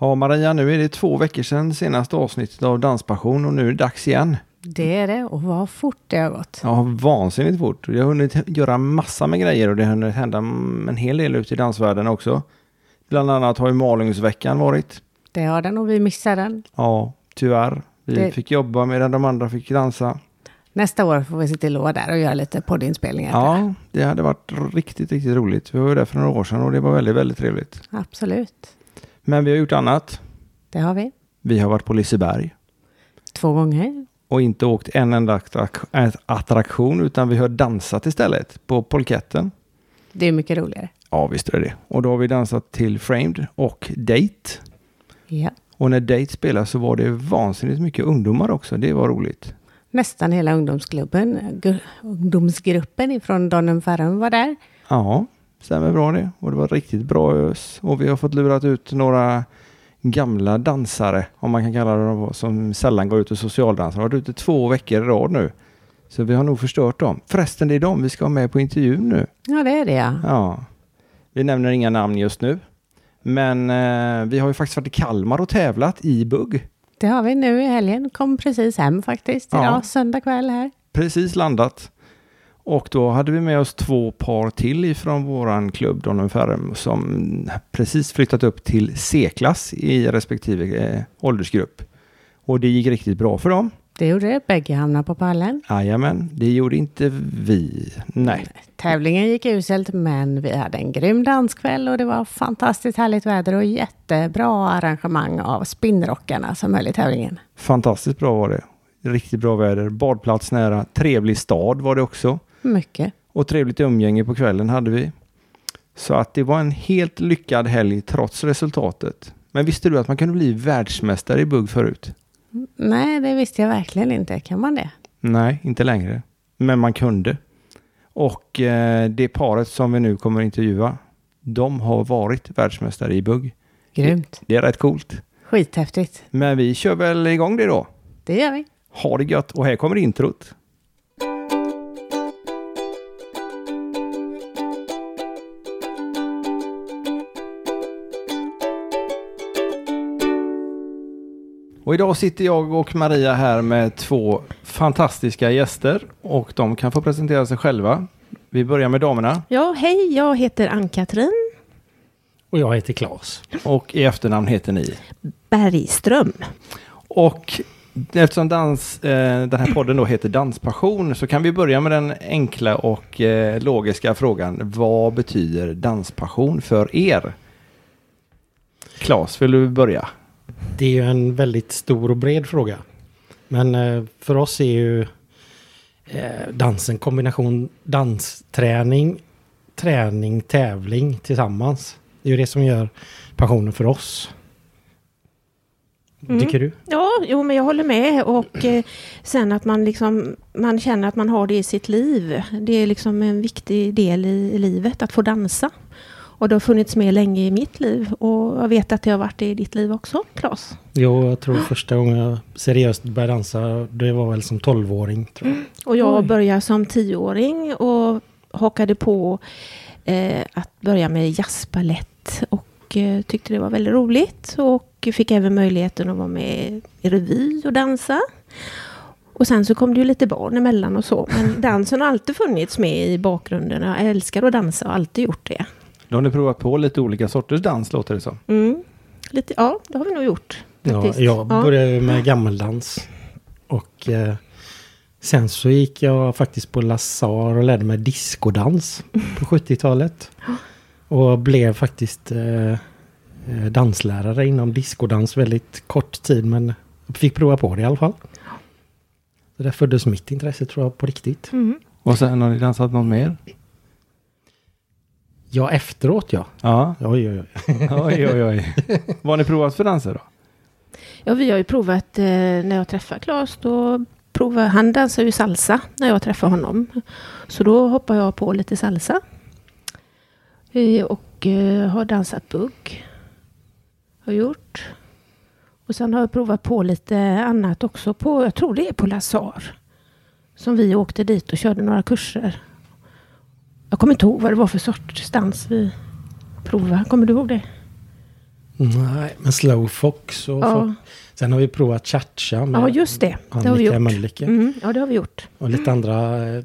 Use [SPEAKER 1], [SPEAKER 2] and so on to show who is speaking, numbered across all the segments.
[SPEAKER 1] Ja Maria, nu är det två veckor sedan senaste avsnittet av Danspassion och nu är det dags igen.
[SPEAKER 2] Det är det och vad fort det har gått.
[SPEAKER 1] Ja, vansinnigt fort. Jag har hunnit göra massa med grejer och det har hunnit hända en hel del ute i dansvärlden också. Bland annat har ju Malungsveckan varit.
[SPEAKER 2] Det har den och vi missar den.
[SPEAKER 1] Ja, tyvärr. Vi
[SPEAKER 2] Det-
[SPEAKER 1] fick jobba medan de andra fick dansa.
[SPEAKER 2] Nästa år får vi se till att vara där och göra lite poddinspelningar.
[SPEAKER 1] Ja, det hade varit riktigt, riktigt roligt. Vi var ju där för några år sedan och det var väldigt, väldigt trevligt.
[SPEAKER 2] Absolut,
[SPEAKER 1] Men vi har gjort annat.
[SPEAKER 2] det har vi.
[SPEAKER 1] Vi har varit på Liseberg
[SPEAKER 2] Två gånger.
[SPEAKER 1] och inte åkt en enda attrak- attraktion utan vi har dansat istället på polketten.
[SPEAKER 2] Det är mycket roligare.
[SPEAKER 1] Ja, visst är det det. Och då har vi dansat till Framed och Date.
[SPEAKER 2] Ja.
[SPEAKER 1] Och när Date spelade så var det vansinnigt mycket ungdomar också. Det var roligt.
[SPEAKER 2] Nästan hela ungdomsklubben, gu- ungdomsgruppen ifrån Donnen Farum var där.
[SPEAKER 1] Ja, stämmer bra det. Och det var riktigt bra ös. Och vi har fått lurat ut några gamla dansare, om man kan kalla dem som sällan går ut och socialdansar. De har varit ute två veckor i rad nu. Så vi har nog förstört dem. Förresten, det är dem vi ska ha med på intervjun nu.
[SPEAKER 2] Ja, det är det ja.
[SPEAKER 1] Ja. Vi nämner inga namn just nu. Men eh, vi har ju faktiskt varit i Kalmar och tävlat i bugg.
[SPEAKER 2] Det har vi nu i helgen. Kom precis hem faktiskt.
[SPEAKER 1] Ja.
[SPEAKER 2] Idag, söndag kväll här.
[SPEAKER 1] precis landat. Och då hade vi med oss två par till ifrån våran klubb Donum Ferrum som precis flyttat upp till C-klass i respektive eh, åldersgrupp. Och det gick riktigt bra för dem.
[SPEAKER 2] Det gjorde det. Bägge hamnade på pallen.
[SPEAKER 1] Jajamän, det gjorde inte vi. Nej,
[SPEAKER 2] Tävlingen gick uselt, men vi hade en grym danskväll och det var fantastiskt härligt väder och jättebra arrangemang av spinnrockarna som höll i tävlingen.
[SPEAKER 1] fantastiskt bra var det. Riktigt bra väder, badplats nära, trevlig stad var det också.
[SPEAKER 2] Mycket.
[SPEAKER 1] Och trevligt umgänge på kvällen hade vi. Så att det var en helt lyckad helg trots resultatet. Men visste du att man kunde bli världsmästare i bugg förut?
[SPEAKER 2] Nej, det visste jag verkligen inte. Kan man det?
[SPEAKER 1] Nej, inte längre. Men man kunde. Och eh, det paret som vi nu kommer intervjua, de har varit världsmästare i bugg.
[SPEAKER 2] Grymt.
[SPEAKER 1] Det är rätt coolt.
[SPEAKER 2] Skithäftigt.
[SPEAKER 1] Men vi kör väl igång det då.
[SPEAKER 2] Det gör vi.
[SPEAKER 1] Ha det gött och här kommer introt. Och idag sitter jag och Maria här med två fantastiska gäster och de kan få presentera sig själva. Vi börjar med damerna
[SPEAKER 3] Ja, hej, jag heter Ann-Katrin
[SPEAKER 4] Och jag heter Claes.
[SPEAKER 1] och i efternamn heter ni.
[SPEAKER 3] Bergström.
[SPEAKER 1] Och eftersom dans, eh, den här podden då heter Danspassion så kan vi börja med den enkla och eh, logiska frågan. Vad betyder danspassion för er? Klas, vill du börja?
[SPEAKER 4] Det är ju en väldigt stor och bred fråga. Men eh, för oss är ju eh, dansen kombination dansträning, träning, tävling tillsammans. Det är ju det som gör passionen för oss.
[SPEAKER 3] Mm.
[SPEAKER 4] Tycker du?
[SPEAKER 3] Ja, jo, men jag håller med. Och eh, sen att man, liksom, man känner att man har det i sitt liv. Det är liksom en viktig del i, i livet, att få dansa. Och det har funnits med länge i mitt liv. Och jag vet att det har varit det i ditt liv också, Claes.
[SPEAKER 4] Jo, jag tror första gången jag seriöst började dansa, det var väl som tolvåring. Tror jag.
[SPEAKER 3] Och jag började som tioåring och hakade på eh, att börja med jazzbalett och eh, tyckte det var väldigt roligt och fick även möjligheten att vara med i revy och dansa. Och sen så kom det ju lite barn emellan och så, men dansen har alltid funnits med i bakgrunden. Jag älskar att dansa och har alltid gjort det.
[SPEAKER 1] Då har ni provat på lite olika sorters dans låter det som.
[SPEAKER 3] Mm. Lite, ja, det har vi nog gjort.
[SPEAKER 4] Ja,
[SPEAKER 3] faktiskt.
[SPEAKER 4] jag
[SPEAKER 3] Ja.
[SPEAKER 4] började ju med gammeldans. Och eh, sen så gick jag faktiskt på Lazar och lärde mig diskodans på 70-talet. Och blev faktiskt eh, eh, danslärare inom diskodans väldigt kort tid men fick prova på det i alla fall. Så där föddes mitt intresse tror jag på riktigt.
[SPEAKER 3] Mm.
[SPEAKER 1] Och sen har ni dansat något mer?
[SPEAKER 4] Ja, efteråt ja.
[SPEAKER 1] Ja,
[SPEAKER 4] Oj, oj, oj.
[SPEAKER 1] oj oj oj. Vad har ni provat för danser då?
[SPEAKER 3] Ja, vi har ju provat eh, när jag träffade Claes. Då provar, han dansar ju salsa när jag träffar honom. Så då hoppar jag på lite salsa. Eh, och eh, har dansat bugg. Har gjort. Och sen har jag provat på lite annat också. På, jag tror det är på Lazar. Som vi åkte dit och körde några kurser. Jag kommer inte ihåg vad det var för sorts dans vi provade. Kommer du ihåg det?
[SPEAKER 4] Nej, men slow fox och
[SPEAKER 3] Ja.
[SPEAKER 4] fox. Sen har vi provat cha-cha med
[SPEAKER 3] Ja, just det. Det har vi
[SPEAKER 4] Annika
[SPEAKER 3] gjort.
[SPEAKER 4] Mölnlycke.
[SPEAKER 3] Mm, ja, det har vi gjort.
[SPEAKER 4] Och lite andra, eh,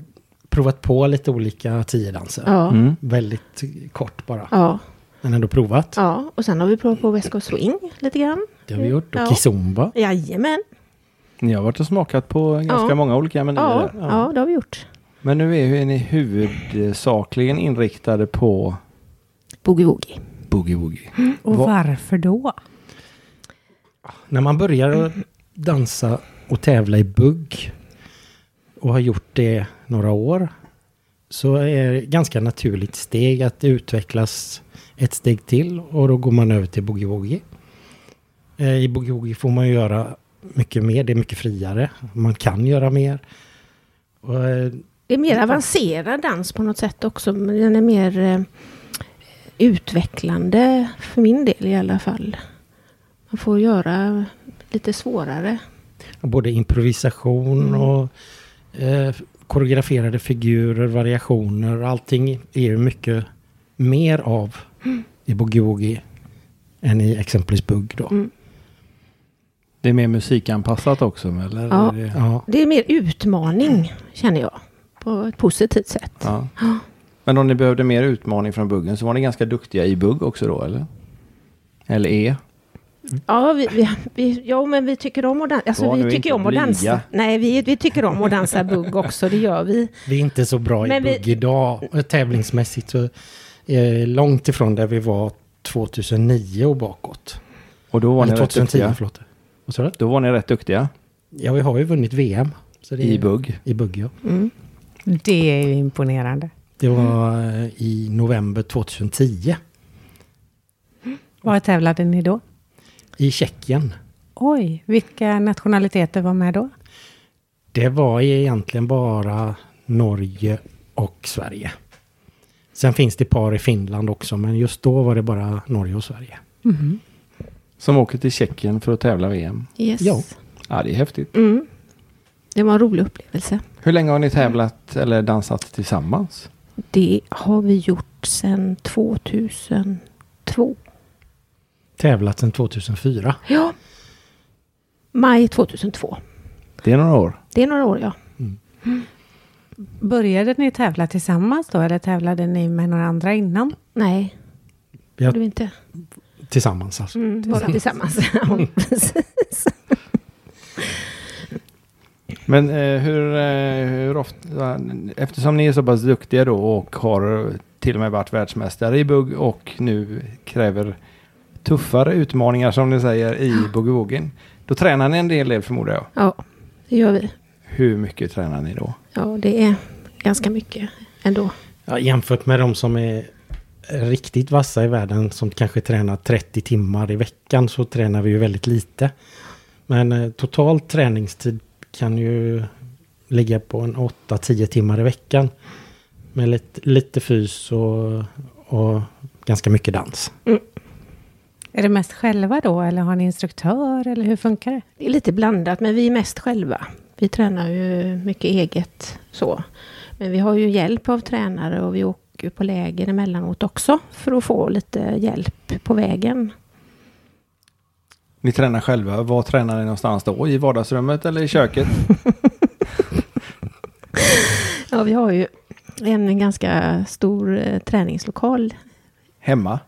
[SPEAKER 4] provat på lite olika tiodanser.
[SPEAKER 3] Ja,
[SPEAKER 1] Mm.
[SPEAKER 4] Väldigt kort bara,
[SPEAKER 3] ja,
[SPEAKER 4] men ändå provat.
[SPEAKER 3] ja. Och sen har vi provat på West Coast Swing lite grann.
[SPEAKER 4] Det har vi gjort. Och
[SPEAKER 3] Ja.
[SPEAKER 4] kizomba.
[SPEAKER 3] Jajamän.
[SPEAKER 1] Ni har varit och smakat på ganska
[SPEAKER 3] Ja.
[SPEAKER 1] många olika menyer.
[SPEAKER 3] Ja,
[SPEAKER 1] där.
[SPEAKER 3] ja, det har vi gjort.
[SPEAKER 1] Men nu är ju ni huvudsakligen inriktade på
[SPEAKER 3] Boogie-woogie.
[SPEAKER 1] boogie woogie.
[SPEAKER 2] Och
[SPEAKER 1] Va-
[SPEAKER 2] varför då?
[SPEAKER 4] När man börjar att dansa och tävla i bugg och har gjort det några år så är det ganska naturligt steg att det utvecklas ett steg till och då går man över till boogie-woogie. Eh, I boogie-woogie får man ju göra mycket mer, det är mycket friare, man kan göra mer. Och, eh,
[SPEAKER 3] Det är mer avancerad dans på något sätt också. Men den är mer eh, utvecklande för min del i alla fall. Man får göra lite svårare.
[SPEAKER 4] både improvisation
[SPEAKER 3] Mm.
[SPEAKER 4] och eh, koreograferade figurer, variationer, allting är ju mycket mer av
[SPEAKER 3] Mm.
[SPEAKER 4] i boogie-woogie än i exempelvis bugg då.
[SPEAKER 3] Mm.
[SPEAKER 1] Det är mer musikanpassat också eller?
[SPEAKER 3] Ja.
[SPEAKER 1] Är det-
[SPEAKER 4] Ja.
[SPEAKER 3] Det är mer utmaning känner jag. På ett positivt sätt.
[SPEAKER 1] ja. Men om ni behövde mer utmaning från buggen så var ni ganska duktiga i bugg också då eller? Eller E. är?
[SPEAKER 3] Ja, vi, vi, vi, ja men vi tycker om att dansa. Alltså,
[SPEAKER 1] Var nu
[SPEAKER 3] vi tycker
[SPEAKER 1] inte
[SPEAKER 3] om att
[SPEAKER 1] blyga.
[SPEAKER 3] dansa. Nej, vi, vi tycker om att dansa bugg också. Det gör vi.
[SPEAKER 4] Vi är inte så bra i
[SPEAKER 3] Men vi-
[SPEAKER 4] bugg idag Och tävlingsmässigt. Så, eh, långt ifrån där vi var 2009 och bakåt.
[SPEAKER 1] Och då var ni
[SPEAKER 4] Eller
[SPEAKER 1] rätt
[SPEAKER 4] 2010,
[SPEAKER 1] duktiga.
[SPEAKER 4] förlåt. Vad sa du?
[SPEAKER 1] Då var ni rätt duktiga
[SPEAKER 4] Ja, vi har ju vunnit VM. Så det är-
[SPEAKER 1] i bugg.
[SPEAKER 4] I bugg, ja.
[SPEAKER 3] Mm.
[SPEAKER 2] Det är ju imponerande.
[SPEAKER 4] Det var
[SPEAKER 3] Mm.
[SPEAKER 4] eh, i november 2010
[SPEAKER 2] Var tävlade ni då?
[SPEAKER 4] i Tjeckien.
[SPEAKER 2] Oj, vilka nationaliteter var med då?
[SPEAKER 4] Det var egentligen bara Norge och Sverige. Sen finns det par i Finland också, men just då var det bara Norge och Sverige.
[SPEAKER 1] Som åker till Tjeckien för att tävla VM.
[SPEAKER 3] Yes.
[SPEAKER 4] Ja.
[SPEAKER 1] Ja det är häftigt.
[SPEAKER 3] Mm. Det var en rolig upplevelse.
[SPEAKER 1] Hur länge har ni tävlat eller dansat tillsammans?
[SPEAKER 3] Det har vi gjort sedan 2002.
[SPEAKER 4] Tävlat sedan 2004.
[SPEAKER 3] Ja. Maj 2002.
[SPEAKER 1] Det är några år.
[SPEAKER 3] Det är några år, ja.
[SPEAKER 2] Började ni tävla tillsammans då eller tävlade ni med några andra innan?
[SPEAKER 3] Nej,
[SPEAKER 4] Vi
[SPEAKER 3] det
[SPEAKER 4] har
[SPEAKER 3] gjorde vi inte.
[SPEAKER 4] tillsammans alltså.
[SPEAKER 3] Mm, bara tillsammans. Ja, precis.
[SPEAKER 1] Men eh, hur, eh, hur ofta, eftersom ni är så pass duktiga då och har till och med varit världsmästare i bugg och nu kräver tuffare utmaningar som ni säger i boogie-woogien. Då tränar ni en del del förmodar jag.
[SPEAKER 3] ja, det gör vi.
[SPEAKER 1] Hur mycket tränar ni då?
[SPEAKER 3] Ja, det är ganska mycket ändå.
[SPEAKER 4] Ja, jämfört med de som är riktigt vassa i världen som kanske tränar 30 timmar i veckan så tränar vi ju väldigt lite. Men eh, total träningstid kan ju ligga på en 8-10 timmar i veckan. Med lite, lite fys och, och ganska mycket dans.
[SPEAKER 2] Är det mest själva då eller har ni instruktör eller hur funkar det?
[SPEAKER 3] Det är lite blandat, men vi är mest själva. Vi tränar ju mycket eget så. Men vi har ju hjälp av tränare och vi åker ju på läger emellanåt också för att få lite hjälp på vägen.
[SPEAKER 1] Ni tränar själva. Var tränar ni någonstans då? I vardagsrummet eller i köket?
[SPEAKER 3] Ja, vi har ju en ganska stor eh, träningslokal
[SPEAKER 1] Hemma?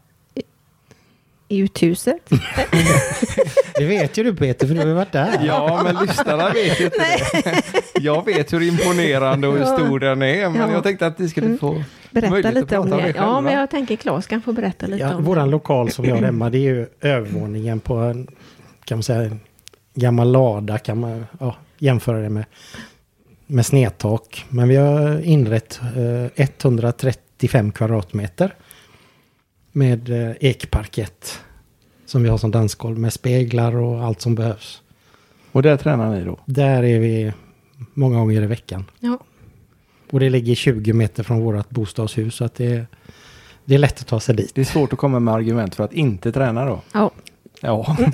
[SPEAKER 3] i uthuset.
[SPEAKER 4] Det vet ju du Peter för du har ju varit där.
[SPEAKER 1] Ja, men lyssnarna vet ju inte det. Jag vet hur imponerande och hur
[SPEAKER 3] Ja.
[SPEAKER 1] stor den är, men
[SPEAKER 3] Ja.
[SPEAKER 1] jag tänkte att ni skulle
[SPEAKER 3] Mm.
[SPEAKER 1] få
[SPEAKER 3] Berätta
[SPEAKER 1] möjlighet att
[SPEAKER 3] lite om
[SPEAKER 1] prata
[SPEAKER 3] det.
[SPEAKER 1] själva.
[SPEAKER 3] Ja, men jag tänker Claes kan få berätta lite
[SPEAKER 4] Ja,
[SPEAKER 3] om
[SPEAKER 4] våran lokal som vi har hemma det är ju övervåningen på en, kan man säga, en gammal lada kan man ja, jämföra det med. Med snedtak. Men vi har inrett eh, 135 kvadratmeter. Med eh, ekparkett. Som vi har som dansgolv med speglar och allt som behövs.
[SPEAKER 1] Och där tränar ni då?
[SPEAKER 4] Där är vi många gånger i veckan.
[SPEAKER 3] det. Ja.
[SPEAKER 4] Och det ligger 20 meter från vårt bostadshus. Så att det, är- det är lätt att ta sig dit.
[SPEAKER 1] Det är svårt att komma med argument för att inte träna då.
[SPEAKER 3] Ja.
[SPEAKER 1] Ja.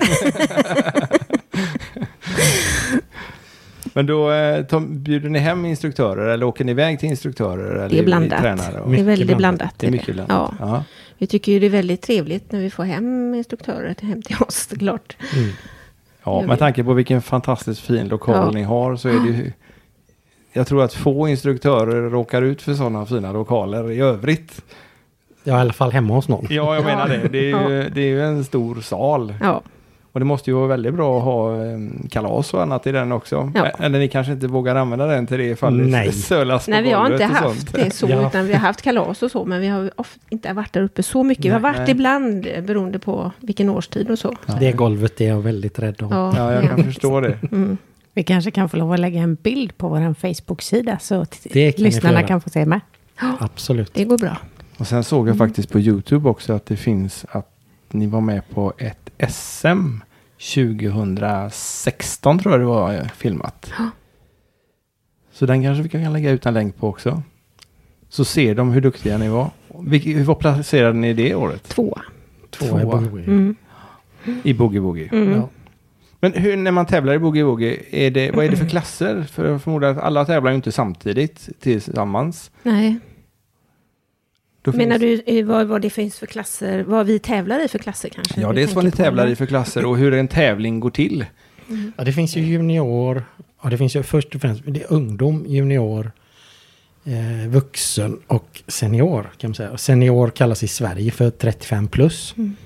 [SPEAKER 1] Men då eh, tar- bjuder ni hem instruktörer eller åker ni iväg till instruktörer? Eller
[SPEAKER 3] Det är blandat.
[SPEAKER 1] Tränare och,
[SPEAKER 3] Det är
[SPEAKER 4] Mycket
[SPEAKER 3] väldigt
[SPEAKER 4] blandat.
[SPEAKER 3] blandat.
[SPEAKER 1] det är mycket blandat.
[SPEAKER 3] Ja.
[SPEAKER 1] Ja.
[SPEAKER 3] Vi tycker ju det är väldigt trevligt när vi får hem instruktörer till- hem till oss såklart.
[SPEAKER 4] Mm.
[SPEAKER 1] Ja, med tanke på vilken fantastiskt fin lokal
[SPEAKER 3] Ja.
[SPEAKER 1] ni har så är det ju... Jag tror att få instruktörer råkar ut för sådana fina lokaler i övrigt.
[SPEAKER 4] Ja, i alla fall hemma hos någon.
[SPEAKER 1] Ja, jag menar
[SPEAKER 3] Ja.
[SPEAKER 1] det. Det är, ju, det är ju en stor sal.
[SPEAKER 3] Ja,
[SPEAKER 1] Och det måste ju vara väldigt bra att ha eh, kalas och annat i den också.
[SPEAKER 3] Ja.
[SPEAKER 1] Ä- Eller ni kanske inte vågar använda den till det ifall det
[SPEAKER 4] Nej.
[SPEAKER 1] sölas på
[SPEAKER 3] Nej, vi har
[SPEAKER 1] golvet
[SPEAKER 3] inte
[SPEAKER 1] och
[SPEAKER 3] haft
[SPEAKER 1] sånt.
[SPEAKER 3] det så,
[SPEAKER 4] Ja.
[SPEAKER 3] utan vi har haft kalas och så, men vi har ju of- inte varit där uppe så mycket. vi har
[SPEAKER 1] Nej,
[SPEAKER 3] varit
[SPEAKER 1] nej.
[SPEAKER 3] ibland eh, beroende på vilken årstid och så.
[SPEAKER 1] Ja.
[SPEAKER 4] Det golvet är jag väldigt rädd om.
[SPEAKER 1] Ja, jag kan
[SPEAKER 3] men-
[SPEAKER 1] förstå det.
[SPEAKER 3] Mm.
[SPEAKER 2] Vi kanske kan få lov att lägga en bild på vår Facebook-sida så att
[SPEAKER 4] Det kan ni få
[SPEAKER 2] lyssnarna
[SPEAKER 4] göra.
[SPEAKER 2] kan få se med.
[SPEAKER 4] Absolut.
[SPEAKER 3] Det går bra.
[SPEAKER 1] Och sen såg jag faktiskt på YouTube också att det finns att ni var med på ett SM 2016 tror jag det var eh, filmat.
[SPEAKER 3] Ja.
[SPEAKER 1] Så den kanske vi kan lägga ut en länk på också. Så ser de hur duktiga ni var. Vilk- Hur var placerade ni det året?
[SPEAKER 3] Två.
[SPEAKER 4] Två är
[SPEAKER 1] Tvåa.
[SPEAKER 4] bowie.
[SPEAKER 3] Mm.
[SPEAKER 1] I boogie woogie.
[SPEAKER 3] Mm.
[SPEAKER 4] Ja.
[SPEAKER 1] Men hur, när man tävlar i boogie woogie, är det, vad är det för klasser? För jag förmodar att alla tävlar ju inte samtidigt tillsammans.
[SPEAKER 3] Nej.
[SPEAKER 1] Då
[SPEAKER 3] Menar
[SPEAKER 1] finns-
[SPEAKER 3] du eh, vad, vad det finns för klasser, vad vi tävlar i för klasser kanske?
[SPEAKER 1] Ja,
[SPEAKER 3] Du
[SPEAKER 1] dels vad
[SPEAKER 3] tänker
[SPEAKER 1] ni
[SPEAKER 3] på,
[SPEAKER 1] tävlar
[SPEAKER 3] eller?
[SPEAKER 1] i för klasser och hur en tävling går till.
[SPEAKER 4] Ja, det finns ju junior. Ja, det finns ju först och främst det är ungdom, junior, eh, vuxen och senior. kan man säga. Senior kallas i Sverige för 35 plus.
[SPEAKER 3] Mm.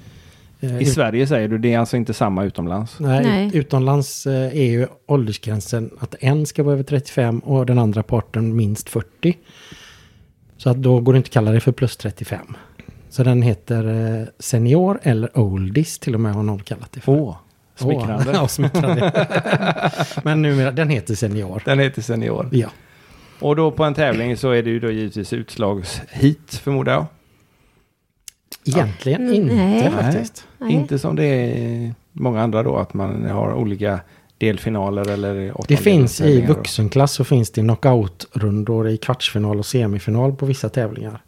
[SPEAKER 4] Eh,
[SPEAKER 1] I
[SPEAKER 4] ut-
[SPEAKER 1] Sverige säger du, det är alltså inte samma utomlands.
[SPEAKER 4] nej,
[SPEAKER 3] Nej.
[SPEAKER 4] Utomlands eh, är ju åldersgränsen att en ska vara över 35 och den andra parten minst 40. Så att då går det inte att kalla det för plus 35. Så den heter eh, senior eller oldies till och med har någon kallat det för.
[SPEAKER 1] Åh, smickrande.
[SPEAKER 4] Åh, ja, smickrande. Men numera, den heter senior.
[SPEAKER 1] Den heter Senior.
[SPEAKER 4] Ja.
[SPEAKER 1] Och då på en tävling så är det ju då givetvis utslagshit förmodar jag.
[SPEAKER 4] Egentligen inte
[SPEAKER 3] Mm, Nej.
[SPEAKER 4] faktiskt.
[SPEAKER 3] Nej.
[SPEAKER 1] Inte som det är i många andra då, att man har olika delfinaler eller
[SPEAKER 4] Det finns i
[SPEAKER 1] åttondelstävlingar då.
[SPEAKER 4] vuxenklass så finns det knockout-rundor i kvartsfinal och semifinal på vissa tävlingar.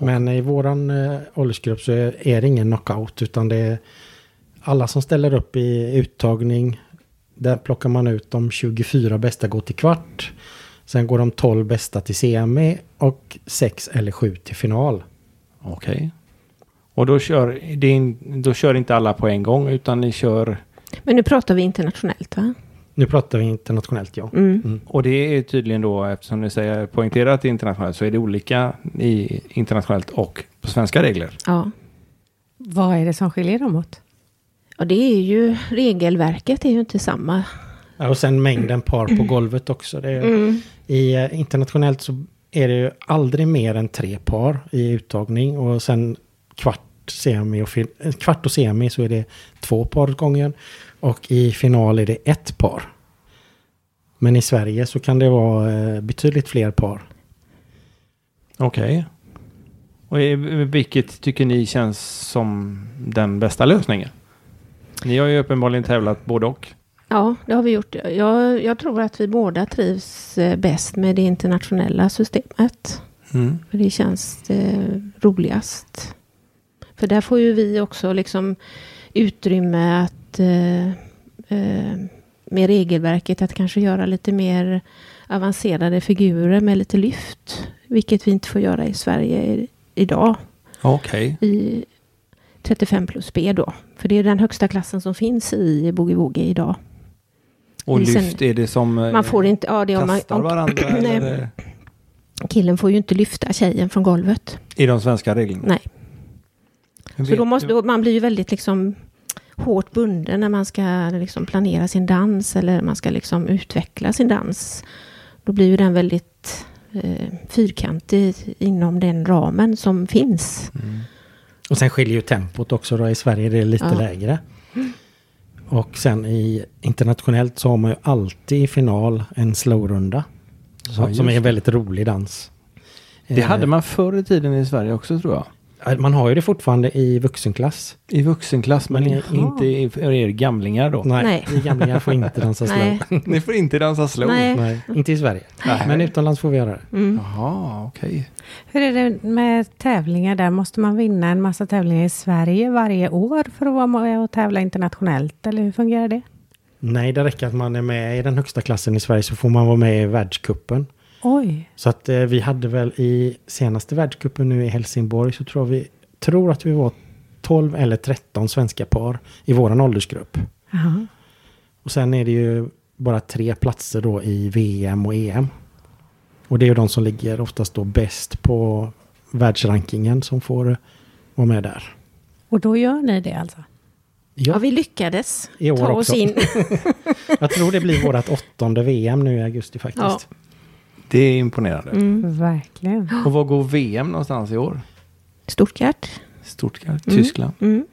[SPEAKER 4] Men i våran eh, åldersgrupp så är, är det ingen knockout utan det är alla som ställer upp i uttagning. Där plockar man ut de 24 bästa går till kvart. Sen går de 12 bästa till semi och 6 eller 7 till final.
[SPEAKER 1] Okej. Och då kör, det är in, då kör inte alla på en gång utan ni kör...
[SPEAKER 3] Men nu pratar vi internationellt va?
[SPEAKER 4] Nu pratar vi internationellt ja.
[SPEAKER 3] Mm.
[SPEAKER 1] Och det är tydligen då, eftersom ni säger poängterar att det är internationellt, så är det olika i internationellt och på svenska regler.
[SPEAKER 3] Ja.
[SPEAKER 2] Vad är det som skiljer dem åt?
[SPEAKER 3] ja, det är ju regelverket är ju inte samma.
[SPEAKER 4] Ja, och sen mängden par på golvet också. Det
[SPEAKER 3] Mm.
[SPEAKER 4] är,
[SPEAKER 1] Mm.
[SPEAKER 4] i, eh, internationellt så är det ju aldrig mer än tre par i uttagning och sen kvart, semi och, fin- eh, kvart och semi så är det två par åt gången och i final är det ett par. Men i Sverige så kan det vara eh, betydligt fler par.
[SPEAKER 1] Okej. Och i- vilket tycker ni känns som den bästa lösningen? Ni har ju uppenbarligen tävlat både och.
[SPEAKER 3] Ja, det har vi gjort. Jag, jag tror att vi båda trivs eh, bäst med det internationella systemet. För det känns eh, roligast. För där får ju vi också liksom utrymme att eh, eh, med regelverket att kanske göra lite mer avancerade figurer med lite lyft. Vilket vi inte får göra i Sverige i, idag
[SPEAKER 1] Okej.
[SPEAKER 3] i 35 plus B då. För det är den högsta klassen som finns i boogie woogie idag.
[SPEAKER 1] Och
[SPEAKER 3] Det är sen-
[SPEAKER 1] lyft är det som eh,
[SPEAKER 3] Man får inte, ja det är om man,
[SPEAKER 1] kastar
[SPEAKER 3] om,
[SPEAKER 1] varandra
[SPEAKER 3] Nej.
[SPEAKER 1] eller,
[SPEAKER 3] killen får ju inte lyfta tjejen från golvet.
[SPEAKER 1] i de svenska reglerna?
[SPEAKER 3] Nej.
[SPEAKER 1] Men
[SPEAKER 3] Så
[SPEAKER 1] vet
[SPEAKER 3] då måste,
[SPEAKER 1] du-
[SPEAKER 3] då, man blir ju väldigt liksom hårt bunden när man ska liksom planera sin dans eller man ska liksom utveckla sin dans. Då blir ju den väldigt eh, fyrkantig inom den ramen som finns.
[SPEAKER 1] Mm.
[SPEAKER 4] Och sen skiljer ju tempot också då. I Sverige är det lite
[SPEAKER 3] Ja.
[SPEAKER 4] lägre. Och sen i internationellt så har man ju alltid i final en slowrunda.
[SPEAKER 1] Ja,
[SPEAKER 4] Som,
[SPEAKER 1] just
[SPEAKER 4] som är
[SPEAKER 1] det.
[SPEAKER 4] en väldigt rolig dans.
[SPEAKER 1] Det
[SPEAKER 4] Eh,
[SPEAKER 1] hade man förr i tiden i Sverige också tror jag.
[SPEAKER 4] Äh, Man har ju det fortfarande i vuxenklass.
[SPEAKER 1] I vuxenklass men
[SPEAKER 4] Jaha.
[SPEAKER 1] inte i- för er gamlingar då.
[SPEAKER 4] Nej,
[SPEAKER 3] Nej.
[SPEAKER 4] vi gamlingar får inte dansa slow.
[SPEAKER 3] Nej.
[SPEAKER 4] Nej.
[SPEAKER 1] Ni får inte dansa slow.
[SPEAKER 3] Nej.
[SPEAKER 4] inte i Sverige.
[SPEAKER 1] Nej.
[SPEAKER 4] Men utomlands får vi göra det.
[SPEAKER 3] Mm.
[SPEAKER 1] Jaha, okej.
[SPEAKER 2] Hur är det med tävlingar där? Måste man vinna en massa tävlingar i Sverige varje år för att vara med och tävla internationellt? Eller hur fungerar det?
[SPEAKER 4] Nej, det räcker att man är med i den högsta klassen i Sverige så får man vara med i världskuppen.
[SPEAKER 2] Oj.
[SPEAKER 4] Så att eh, vi hade väl i senaste världskuppen nu i Helsingborg så tror vi, tror att vi var 12 eller 13 svenska par i våran åldersgrupp.
[SPEAKER 2] Jaha.
[SPEAKER 4] Och sen är det ju bara tre platser då i VM och EM. Och det är ju de som ligger oftast då bäst på världsrankingen som får eh, vara med där.
[SPEAKER 2] Och då gör ni det alltså?
[SPEAKER 4] Ja,
[SPEAKER 3] Ja, vi lyckades
[SPEAKER 4] I år
[SPEAKER 3] ta oss
[SPEAKER 4] också.
[SPEAKER 3] in.
[SPEAKER 4] jag tror det blir vårat åttonde VM nu i augusti faktiskt.
[SPEAKER 1] Det är imponerande.
[SPEAKER 2] Verkligen.
[SPEAKER 3] Mm.
[SPEAKER 1] Och var går VM någonstans i år?
[SPEAKER 3] Stuttgart.
[SPEAKER 1] Stuttgart,
[SPEAKER 3] Mm.
[SPEAKER 1] Tyskland.
[SPEAKER 3] Mm.